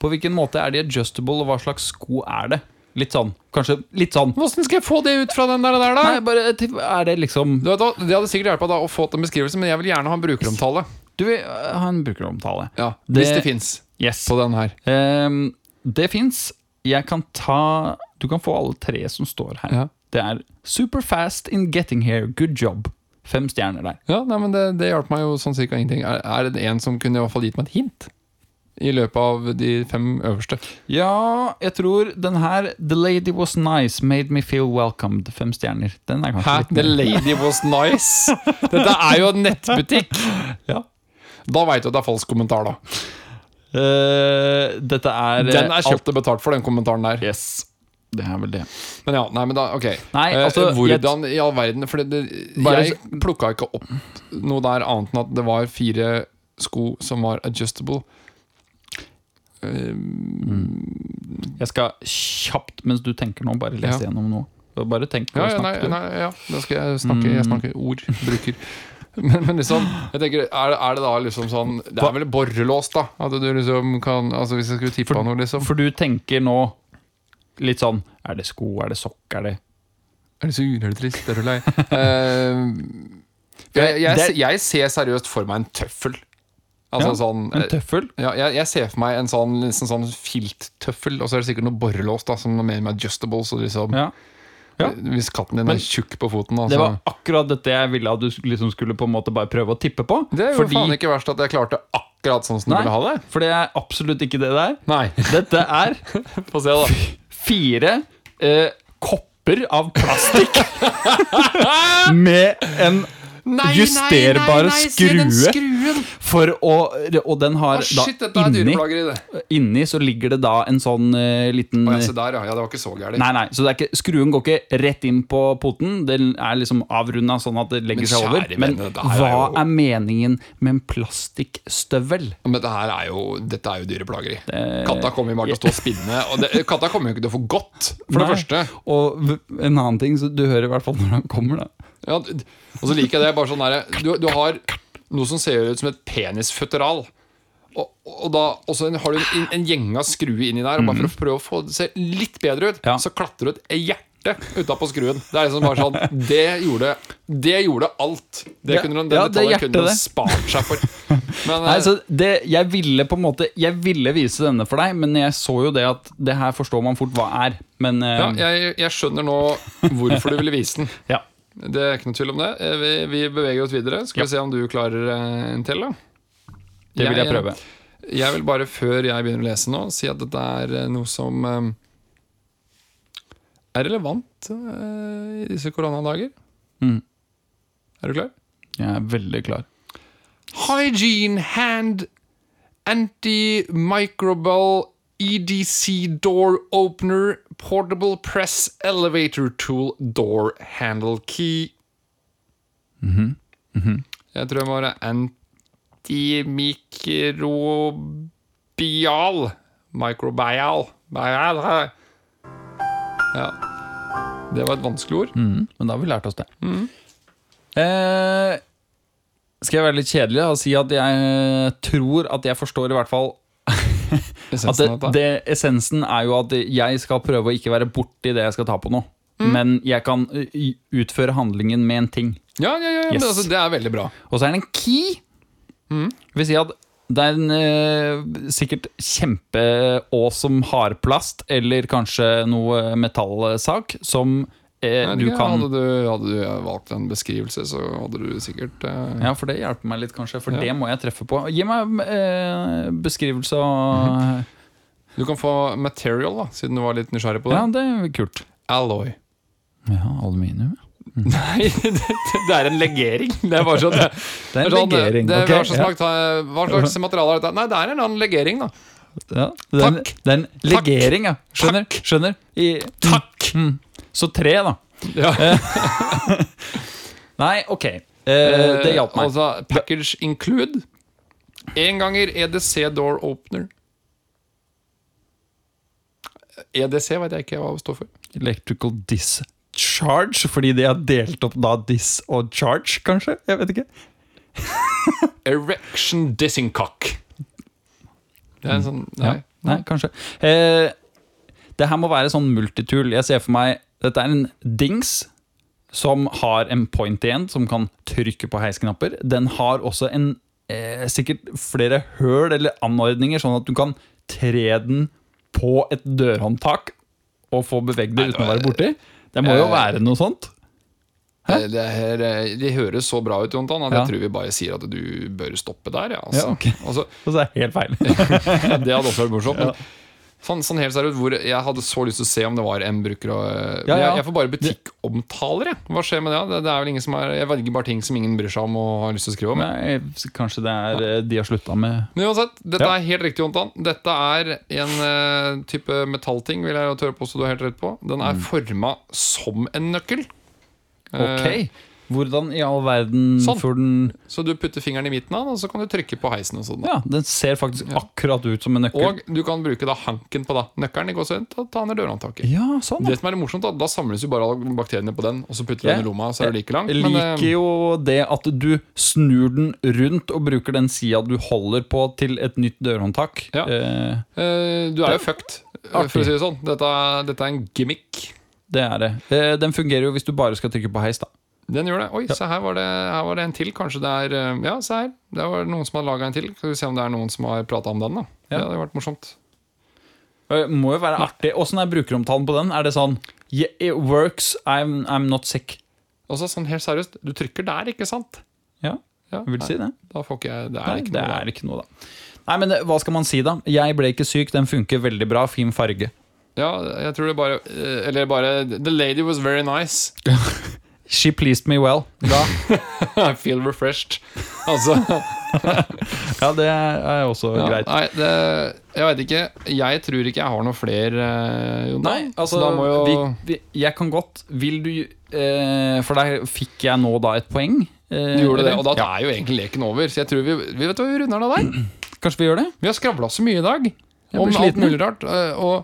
S2: på hvilken måte er de adjustable, og hva slags sko er det? Litt sånn, kanskje litt sånn
S1: Åssen skal jeg få det ut fra den der, der da?
S2: Nei, bare til- er det liksom
S1: Du vet, hva, det hadde sikkert hjulpet da å få en beskrivelse, men jeg vil gjerne ha en brukeromtale.
S2: Du vil øh, ha en brukeromtale.
S1: Ja,
S2: Det-
S1: Hvis det fins
S2: Yes.
S1: på den her.
S2: Ehm, det fins. Jeg kan ta Du kan få alle tre som står her.
S1: Ja.
S2: Det er super fast in getting here. Good job. Fem stjerner der.
S1: Ja, nei, men Det, det hjalp meg jo sånn cirka ingenting. Er, er det en som kunne i hvert fall gitt meg et hint? I løpet av de fem øverste.
S2: Ja, jeg tror den her The lady was nice, made me feel welcomed. Fem stjerner. Den er kanskje
S1: Hæ?
S2: litt
S1: The
S2: mer- (laughs)
S1: lady was nice? Dette er jo en nettbutikk!
S2: Ja.
S1: Da veit du at det er falsk kommentar, da.
S2: Eh, dette er
S1: Den er
S2: alt-
S1: kjøpt og betalt for, den kommentaren der.
S2: Yes. Det er vel det.
S1: Men ja, nei, men da, ok
S2: Nei,
S1: Eh,
S2: altså, jeg-
S1: Hvordan i all verden For det, det,
S2: Bare
S1: jeg plukka ikke opp noe der annet enn at det var fire sko som var adjustable. Eh,
S2: Jeg skal kjapt, mens du tenker nå, bare lese
S1: Ja.
S2: gjennom noe. Bare tenk og
S1: Ja, ja,
S2: snakk,
S1: nei,
S2: du.
S1: nei, ja. Da skal jeg snakke,
S2: Mm.
S1: jeg snakker ord, bruker. (laughs) Men, men liksom, jeg tenker, er det, er det da liksom sånn Det er vel borrelås, da? At du liksom kan Altså Hvis jeg skulle tippa noe, liksom.
S2: For du tenker nå litt sånn Er det sko, er det sokk, er det
S1: Er du sur, er du trist, er du
S2: (laughs)
S1: lei? Eh, jeg, jeg,
S2: Det-
S1: se- jeg ser seriøst for meg en tøffel. Altså
S2: Ja,
S1: sånn
S2: En tøffel?
S1: ja, jeg, jeg ser for meg en sånn, nesten sånn filttøffel, og så er det sikkert noe borrelås da, som er mer med adjustable. Så liksom,
S2: Ja. Ja.
S1: Hvis katten din
S2: Men-
S1: er tjukk på foten, da,
S2: Det
S1: så-
S2: var akkurat dette jeg ville at du liksom skulle på en måte bare prøve å tippe på.
S1: det er jo faen ikke verst at jeg klarte akkurat sånn som
S2: Nei,
S1: du ville ha det.
S2: For det er absolutt ikke det der. (laughs)
S1: Nei,
S2: Dette er
S1: få se, da.
S2: fire eh, kopper
S1: (laughs)
S2: av plastikk med en justerbare skrue for å Og den har
S1: Ah, Shit, dette
S2: da
S1: er
S2: inni,
S1: dyreplageri, det.
S2: inni så ligger det da en sånn eh, liten
S1: Å, ja, se der, ja. ja. Det var ikke så gærent.
S2: Nei, nei, så det er ikke, Skruen går ikke rett inn på poten. Den er liksom avrunda sånn at det legger
S1: Men
S2: seg over.
S1: kjære
S2: Men
S1: vene, det her er
S2: hva
S1: jo-
S2: er meningen med en plastikkstøvel?
S1: Men dette her er jo, dette er jo dyreplageri. Katta kommer jo bare til å stå og spinne. Og det, katta kommer jo ikke til å få godt, for
S2: Nei.
S1: det første.
S2: Og v- en annen ting, så du hører i hvert fall når han kommer, da.
S1: Ja, d- og så liker jeg det bare sånn der, du, du har noe som ser ut som et penisføtteral. Og, og da og så har du en, en, en gjeng av skruer inni der, og bare for å prøve å få det se litt bedre ut,
S2: Mhm. Ja.
S1: så klatrer du et hjerte utapå skruen. Det er liksom bare sånn Det gjorde, det gjorde alt. Det
S2: Ja,
S1: kunne den, den
S2: ja, det
S1: detaljen
S2: hjertet,
S1: kunne
S2: det.
S1: den spart seg
S2: (laughs)
S1: for. Men
S2: Nei,
S1: eh,
S2: så det, Jeg ville på en måte Jeg ville vise denne for deg, men jeg så jo det at det her forstår man fort hva er. Men eh,
S1: ja, jeg, jeg skjønner nå hvorfor du ville vise den.
S2: ja.
S1: Det er ikke noe tvil om det. Eh, Vi, vi beveger oss videre. Skal vi se om du klarer eh, en til, da.
S2: det vil jeg prøve.
S1: Jeg vil bare, før jeg begynner å lese nå, si at dette er eh, noe som eh, er relevant eh, i disse koronadager.
S2: Mm.
S1: Er du klar?
S2: Jeg er veldig klar.
S1: Hygiene hand antimicrobial EDC door opener portable press elevator tool door handle key.
S2: Mm-hmm.
S1: Jeg tror jeg må være antimikrobial Microbial. Bial. Ja. Det var et vanskelig ord.
S2: Mm, men da har vi lært oss det.
S1: Mm.
S2: Eh, skal jeg være litt kjedelig da, og si at jeg eh, tror at jeg forstår i hvert fall (laughs) at det,
S1: Essensen av dette.
S2: det, Essensen er jo at jeg skal prøve å ikke være borti det jeg skal ta på nå.
S1: Mm.
S2: Men jeg kan ø, y- utføre handlingen med en ting.
S1: Ja, ja, ja, ja, men
S2: Yes.
S1: altså, det er veldig bra.
S2: Og så er det en key.
S1: Mm.
S2: Det vil si at det er en eh, sikkert kjempeås som hardplast, eller kanskje noe metallsak, som eh,
S1: Nei,
S2: du
S1: ikke,
S2: kan
S1: hadde, du, hadde du valgt en beskrivelse, så hadde du sikkert eh,
S2: Ja, for det hjelper meg litt, kanskje. For
S1: Ja.
S2: det må jeg treffe på. Gi meg eh, beskrivelse av
S1: Du kan få material, da, siden du var litt nysgjerrig på det.
S2: (laughs) Ja, det er kult.
S1: Alloy.
S2: Ja, aluminium.
S1: (laughs) Nei, det, det er en legering. Det er bare sånn (laughs) det,
S2: Det er en
S1: sånn,
S2: legering.
S1: Det,
S2: ok,
S1: hva, slags makt, hva slags materiale er dette? Nei, det er en annen legering, da.
S2: ja. ja, det er en-
S1: Takk.
S2: Det er en legering, ja. Skjønner.
S1: Takk.
S2: skjønner. I,
S1: Takk!
S2: mm. Så tre, da.
S1: Ja.
S2: Nei, ok. Eh, det hjalp meg.
S1: Altså, package include. Enganger EDC door opener. EDC E vet jeg ikke hva det står for.
S2: Eh, Electrical discharge, fordi de har delt opp da dis og charge, kanskje? Jeg vet ikke.
S1: Erection Dissincock. Det er en sånn Nei.
S2: Nei, kanskje. Eh, det her må være sånn multitool. Jeg ser for meg Dette er en dings som har en point igjen, som kan trykke på heisknapper. Den har også en eh, sikkert flere høl eller anordninger, sånn at du kan tre den på et dørhåndtak og få beveget det uten å være borti. Det må jo
S1: eh,
S2: være noe sånt.
S1: Eh, Det, her, eh, det høres så bra ut, Jontan, at
S2: Ja.
S1: jeg tror vi bare sier at du bør stoppe der. Ja, altså.
S2: Ja, ok.
S1: (laughs) altså,
S2: Og så er det helt (laughs) feil.
S1: det hadde også vært morsomt.
S2: (laughs)
S1: Men sånn, sånn helt seriøst, hvor jeg hadde så lyst til å se om det var en bruker og eh, men
S2: Ja, ja.
S1: Jeg, jeg får bare butikkomtaler, jeg. Hva skjer med det? Det, det er vel ingen som er, jeg velger bare ting som ingen bryr seg om og har lyst til å skrive om.
S2: (laughs) Nei, eh, kanskje det er eh, de har slutta med
S1: Men uansett, dette
S2: Ja.
S1: er helt riktig, Jontan. Dette er en eh, type metallting, vil jeg jo tørre påstå du har helt rett på. Den
S2: Mm.
S1: er forma som en nøkkel. Eh,
S2: Ok, hvordan i all verden
S1: Sånn.
S2: får den
S1: Så du putter fingeren i midten av den, og så kan du trykke på heisen. og sånn da.
S2: Ja, den ser faktisk akkurat ut som en nøkkel.
S1: Og du kan bruke da hanken på da nøkkelen i gåsehud og ta ned dørhåndtaket.
S2: ja, sånn.
S1: Det som er morsomt Da da samles jo bare alle bakteriene på den, og så putter du
S2: Ja.
S1: den i lomma, så er du like lang.
S2: Jeg
S1: Men,
S2: liker
S1: eh,
S2: jo det at du snur den rundt og bruker den sida du holder på til et nytt dørhåndtak.
S1: Ja.
S2: Eh,
S1: eh, du er jo fucked, eh, for å si det sånn. Dette, er- dette er en gimmick.
S2: det er det. Eh, den fungerer jo hvis du bare skal trykke på heis, da.
S1: Den gjør det. Oi, se her var det, her var det en til. Kanskje det er eh, Ja, se her. Der var det noen som har laga en til. Skal vi se om det er noen som har prata om den, da. Ja.
S2: Ja.
S1: Det hadde vært morsomt.
S2: Eh, må jo være artig. Åssen er brukeromtalen på den? Er det sånn yeah, It works, I'm, I'm not sick.
S1: Og så sånn helt seriøst, du trykker der, ikke sant?
S2: Ja,
S1: Ja,
S2: jeg vil si det.
S1: Da får ikke jeg Det er
S2: Nei,
S1: ikke
S2: det
S1: noe der.
S2: er ikke noe, da. Nei, men eh, hva skal man si, da? Jeg ble ikke syk, den funker veldig bra, fin farge.
S1: Ja, jeg tror det bare eh, Eller bare The lady was very nice.
S2: She pleased me well.
S1: Da I feel refreshed.
S2: (laughs)
S1: Altså
S2: Ja, det er også
S1: ja,
S2: greit.
S1: Nei, det, jeg veit ikke. Jeg tror ikke jeg har noe flere, eh, Jon.
S2: Nei, altså
S1: Så da må jo
S2: vi, vi, Jeg kan godt Vil du eh, For der fikk jeg nå da et poeng. eh,
S1: Du gjorde det,
S2: eller?
S1: og da
S2: ja.
S1: er jo egentlig leken over. Så jeg tror vi, vi vet hva vi runder av der.
S2: Kanskje vi gjør det?
S1: Vi har skravla så mye i dag
S2: blir
S1: om alt
S2: sliten,
S1: mulig rart. eh, Og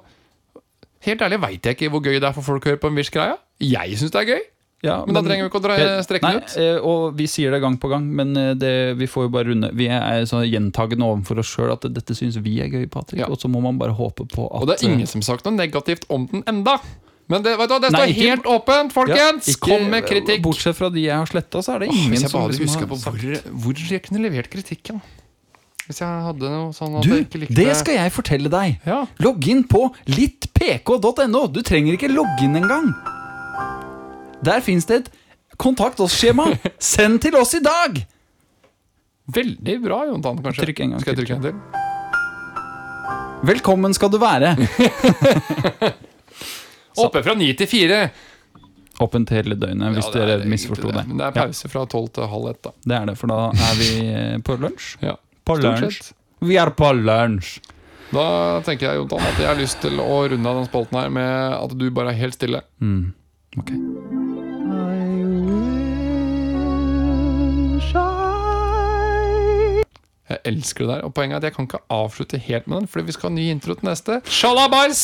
S1: helt ærlig veit jeg ikke hvor gøy det er for folk å høre på en viss greie. Jeg syns det er gøy,
S2: Ja,
S1: men, da trenger vi ikke å dra strekke
S2: Nei,
S1: den ut.
S2: eh, og vi sier det gang på gang, men eh, det, vi får jo bare runde. Vi er så gjentagende overfor oss sjøl at dette syns vi er gøy, Patrick.
S1: Ja.
S2: Og så må man bare håpe på at
S1: Og det er
S2: eh,
S1: ingen som har sagt noe negativt om den enda. Men det, vet du, hva, det
S2: Nei,
S1: står
S2: ikke-
S1: helt åpent, folkens!
S2: ikke-
S1: Kom med kritikk.
S2: Bortsett fra de jeg har sletta, så er det
S1: Åh,
S2: ingen
S1: hvis jeg
S2: som
S1: bare hadde
S2: liksom
S1: huska
S2: har
S1: på
S2: sagt-
S1: hvor, hvor jeg kunne levert kritikken. Hvis jeg hadde noe sånn at jeg ikke
S2: Du,
S1: likte
S2: det skal jeg fortelle deg!
S1: Ja.
S2: Logg inn på littpk.no. Du trenger ikke logge inn engang. Der fins det et kontakt (laughs) oss-skjema. Send til oss i dag!
S1: Veldig bra, Jontan, kanskje.
S2: Trykk en gang
S1: skal jeg
S2: til,
S1: trykke en til?
S2: Velkommen skal du være.
S1: Oppe fra ni til fire!
S2: Åpent hele døgnet, hvis
S1: Ja, det er
S2: dere
S1: egentlig
S2: misforsto det.
S1: Men det er
S2: Ja,
S1: pause fra tolv til halv ett, da.
S2: det er det, for da er vi eh, på lunsj.
S1: Ja.
S2: På
S1: Stort
S2: lunsj.
S1: sett.
S2: Vi er på lunsj.
S1: Da tenker jeg Jontan, at jeg har lyst til å runde av den spalten her med at du bare er helt stille.
S2: Ok.
S1: Jeg elsker det der. Og poenget er at jeg kan ikke avslutte helt med den, fordi vi skal ha ny intro til neste. Sjalabais!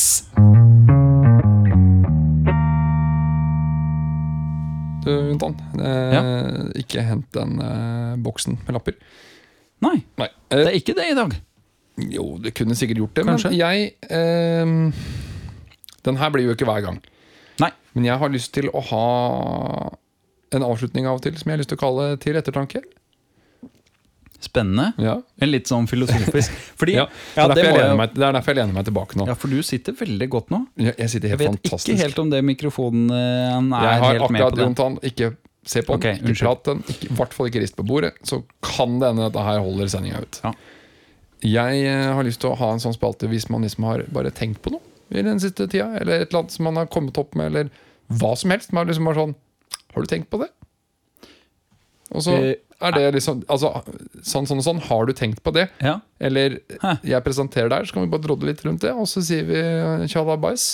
S1: Du, Jontan. Eh, Ikke hent den eh, boksen med lapper.
S2: Nei,
S1: Nei.
S2: det
S1: Eh,
S2: er ikke det i dag.
S1: jo, det kunne sikkert gjort det,
S2: Kanskje.
S1: men jeg eh, Den her blir jo ikke hver gang.
S2: Nei.
S1: Men jeg har lyst til å ha en avslutning av og til som jeg har lyst til å kalle til ettertanke.
S2: Spennende.
S1: Ja.
S2: En litt sånn (laughs) filosofisk. Fordi,
S1: Ja,
S2: ja,
S1: det, er derfor jeg
S2: det må
S1: lener
S2: jeg,
S1: meg, det er derfor jeg lener meg tilbake nå.
S2: ja, for du sitter veldig godt nå.
S1: Jeg- Jeg sitter
S2: Jeg
S1: helt
S2: vet
S1: fantastisk.
S2: ikke helt om det mikrofonen eh, han er
S1: jeg har
S2: helt med
S1: akkurat
S2: på. Det.
S1: Jontan, ikke se på den,
S2: Ok,
S1: ikke
S2: unnskyld.
S1: prat den, ikke- i hvert fall ikke rist på bordet, så kan det hende at dette her holder sendinga ut.
S2: Ja.
S1: Jeg eh, har lyst til å ha en sånn spalte hvis man liksom har bare tenkt på noe i den siste tida, eller et eller annet som man har kommet opp med, eller hva som helst. Man liksom bare sånn Har du tenkt på det? Og så
S2: Eh,
S1: er det liksom altså, Sånn, sånn og sånn. Har du tenkt på det?
S2: Ja.
S1: Eller
S2: Hæ.
S1: jeg presenterer der, så kan vi bare drodle litt rundt det, og så sier vi eh, tjalabais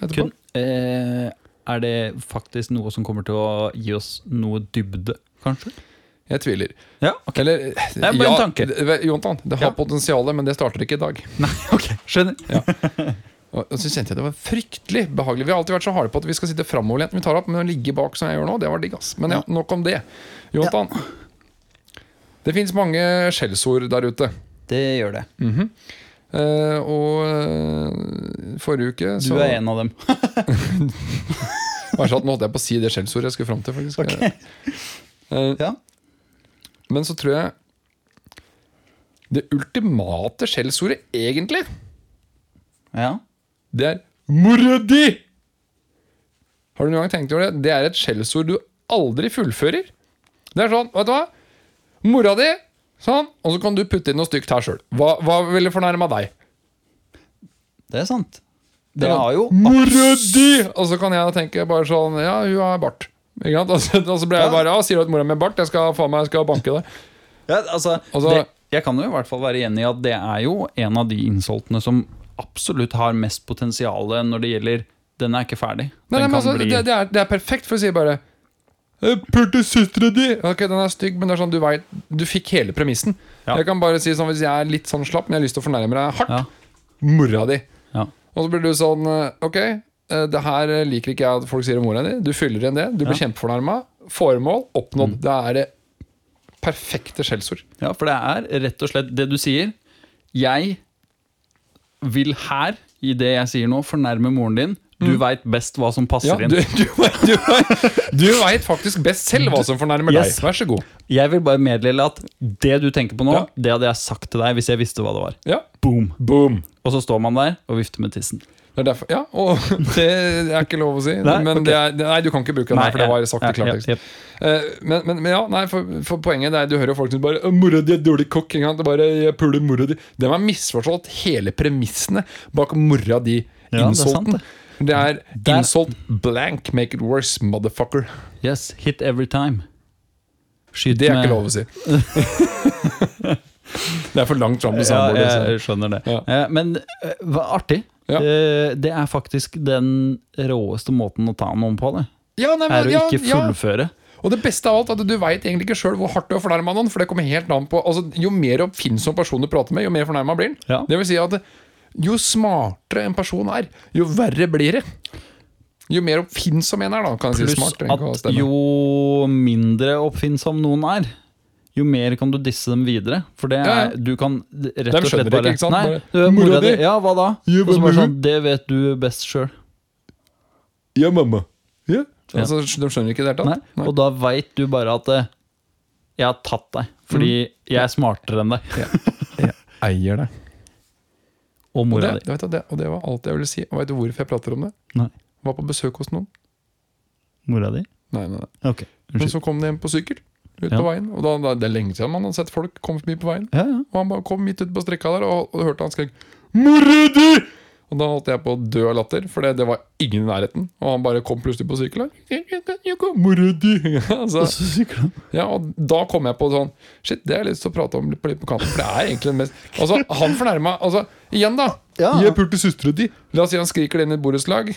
S1: etterpå.
S2: Kun, eh, er det faktisk noe som kommer til å gi oss noe dybde, kanskje?
S1: Jeg tviler.
S2: Ja, ok.
S1: Eller
S2: er bare en tanke.
S1: det- vet- Jontan, det har
S2: Ja.
S1: potensial, men det starter ikke i dag.
S2: (laughs) Ok, skjønner.
S1: Og og så kjente jeg det var fryktelig behagelig. Vi har alltid vært så harde på at vi skal sitte framoverlent. Vi tar opp, men å ligge bak som jeg gjør nå, det var digg, ass. Men ja, nok om det. Jontan. Det fins mange skjellsord der ute.
S2: Det gjør det.
S1: Eh, og eh, forrige uke
S2: Du
S1: så
S2: er en av
S1: (laughs)
S2: dem.
S1: Vær så snill, nå holdt jeg på å si det skjellsordet jeg skulle fram til, faktisk. Eh,
S2: Ja.
S1: Men så tror jeg Det ultimate skjellsordet, egentlig,
S2: Ja.
S1: Det er mora di! Har du noen gang tenkt over det? Det er et skjellsord du aldri fullfører. Det er sånn, vet du hva? Mora di! Sånn. Og så kan du putte inn noe stygt her sjøl. Hva, hva ville fornærma deg?
S2: Det er sant. Det har jo
S1: Mora di! sånn, Og så kan jeg tenke bare sånn Ja, hun har bart. Ikke sant? (laughs) Og så, og så ble jeg
S2: Ja.
S1: bare Ja, sier du at mora mi har bart? Jeg skal faen meg jeg skal banke deg.
S2: ja, altså,
S1: Altså-
S2: det, Jeg kan jo i hvert fall være enig i at det er jo en av de insultene som absolutt har mest potensial når det gjelder Den er ikke ferdig.
S1: Nei, nei,
S2: Den
S1: men
S2: kan
S1: altså,
S2: bli
S1: det, det, er, det er perfekt, for å si bare «Eh, Pulte søstera di! Ok, den er stygg, men det er sånn, du vet, du fikk hele premissen.
S2: Ja.
S1: Jeg kan bare si sånn, Hvis jeg er litt sånn slapp, men jeg har lyst til å fornærme deg hardt
S2: ja,
S1: Mora di.
S2: ja.
S1: Og så blir du sånn eh, Ok, eh, det her liker ikke jeg at folk sier om mora di. Du fyller igjen det. Du blir
S2: Ja. Mm.
S1: kjempefornærma. Formål oppnådd. Det er det perfekte skjellsord.
S2: ja, for det er rett og slett det du sier. Jeg vil her, i det jeg sier nå, fornærme moren din. Du veit best hva som passer
S1: Mm. Ja, du,
S2: inn.
S1: du, vet- du, vet- du veit faktisk best selv hva som fornærmer
S2: Yes.
S1: deg. Vær så god.
S2: Jeg vil bare meddele at det du tenker på nå,
S1: Ja.
S2: det hadde jeg sagt til deg hvis jeg visste hva det var.
S1: Ja.
S2: Boom.
S1: Boom.
S2: Og så står man der og vifter med tissen.
S1: Det er derfor, ja, og (laughs) det er ikke lov å si.
S2: Nei,
S1: men
S2: ok.
S1: det er, nei, du kan ikke bruke den her, for det var sagt i
S2: ja,
S1: klartekst.
S2: ja,
S1: Eh, men, men, men ja, nei, for, for poenget det er du hører jo folk som bare «Å, 'Mora di er dårlig kokk'. Ikke sant? Det er bare, jeg puler mora di De har misforstått hele premissene bak 'mora
S2: Ja, det er sant,
S1: di'-insulten.
S2: det.
S1: det er
S2: Der-
S1: insult blank, make it worse, motherfucker.
S2: ja. Yes, hit every time. Skyt
S1: Det er
S2: med-
S1: ikke lov å
S2: (laughs)
S1: si. det er for langt fram til
S2: Ja,
S1: samboeren.
S2: jeg
S1: altså.
S2: skjønner det.
S1: Ja.
S2: Eh, Men eh, hva artig.
S1: Ja.
S2: Eh, Det er faktisk den råeste måten å ta noen på. Det.
S1: Ja, nei,
S2: Er
S1: men-
S2: å
S1: ja,
S2: ikke
S1: ja.
S2: fullføre.
S1: Og det beste av alt er at du veit egentlig ikke sjøl hvor hardt du har fornærma noen. For det kommer helt an på altså, Jo mer oppfinnsom person du prater med, jo mer fornærma blir han.
S2: Ja.
S1: Det vil si at jo smartere en person er, jo verre blir det. Jo mer oppfinnsom en er, da, kan jeg si.
S2: Pluss
S1: Smart. trenger ikke å
S2: at
S1: stemme.
S2: jo mindre oppfinnsom noen er, jo mer kan du disse dem videre. For det
S1: Ja, ja.
S2: er, du kan rett
S1: Dem
S2: og slett
S1: skjønner
S2: bare
S1: ikke, ikke sant?
S2: Nei,
S1: Bare,
S2: du, mora
S1: «Mora
S2: di,
S1: di!»
S2: ja, hva da?
S1: Ja,
S2: Og så
S1: hva
S2: bare
S1: med
S2: sånn, det vet du best sjøl.
S1: Ja, mamma. Ja. Altså, de skjønner ikke det i det hele tatt. Nei.
S2: Og da veit du bare at eh, jeg har tatt deg, fordi
S1: Mm.
S2: jeg er smartere enn deg.
S1: Eier det.
S2: Og
S1: Og det,
S2: mora di.
S1: vet du, det. Og det var alt jeg ville si. Og vet du hvorfor jeg prater om det?
S2: Nei,
S1: Var på besøk hos noen.
S2: mora di?
S1: Nei, nei, nei.
S2: Ok,
S1: Men
S2: unnskyld.
S1: så kom de hjem på sykkel. Ut
S2: Ja.
S1: på veien. Og da, da, det er lenge siden man har sett folk komme forbi på veien.
S2: Ja, ja.
S1: Og han bare kom midt ut på strekka der og, og hørte han skrek 'Mora di!' Og da holdt jeg på å dø av latter, for det, det var ingen i nærheten. Og han bare kom plutselig på sykkelen. «Mora di!» altså,
S2: Så sykla han.
S1: ja, og da kom jeg på sånn Shit, det har jeg lyst til å prate om litt på litt på kanten. For det er egentlig den mest Altså, han fornærma altså, Igjen, da.
S2: Ja.
S1: Gi pult til søstera di. La oss si han skriker det inn i et borettslag.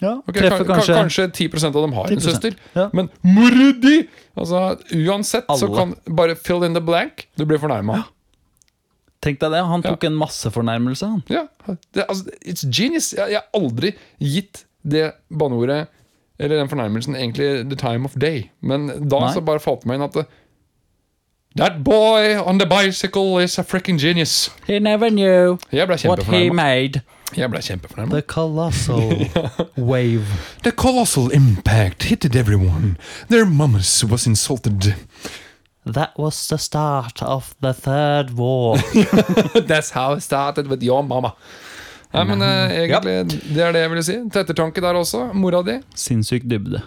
S2: Ja,
S1: Ok,
S2: treffer
S1: kan-
S2: kanskje,
S1: kan- kanskje 10 av dem har en
S2: 10%,
S1: søster.
S2: ja.
S1: Men mora di! Altså, uansett så
S2: Alle.
S1: kan bare fill in the blank. Du blir fornærma.
S2: Tenk deg det, han tok en massefornærmelse, han.
S1: Ja, det, altså, it's genius. Jeg, jeg har aldri gitt det banneordet eller den fornærmelsen egentlig the time of day. Men da
S2: Nei.
S1: så bare falt det meg inn at det, That boy on the bicycle is a fricking genius.
S2: He never knew
S1: Jeg ble
S2: what he
S1: kjempefornærma.
S2: made.
S1: Jeg ble kjempefornærma.
S2: The colossal
S1: (laughs)
S2: wave.
S4: The colossal impact hit everyone. Their mamas was insulted.
S2: That was the start of the third war.
S1: (laughs) That's how it started with your mama. Nei, men eh, egentlig, det er det jeg ville si. Til ettertanke der også. Mora di.
S5: Sinnssyk dybde.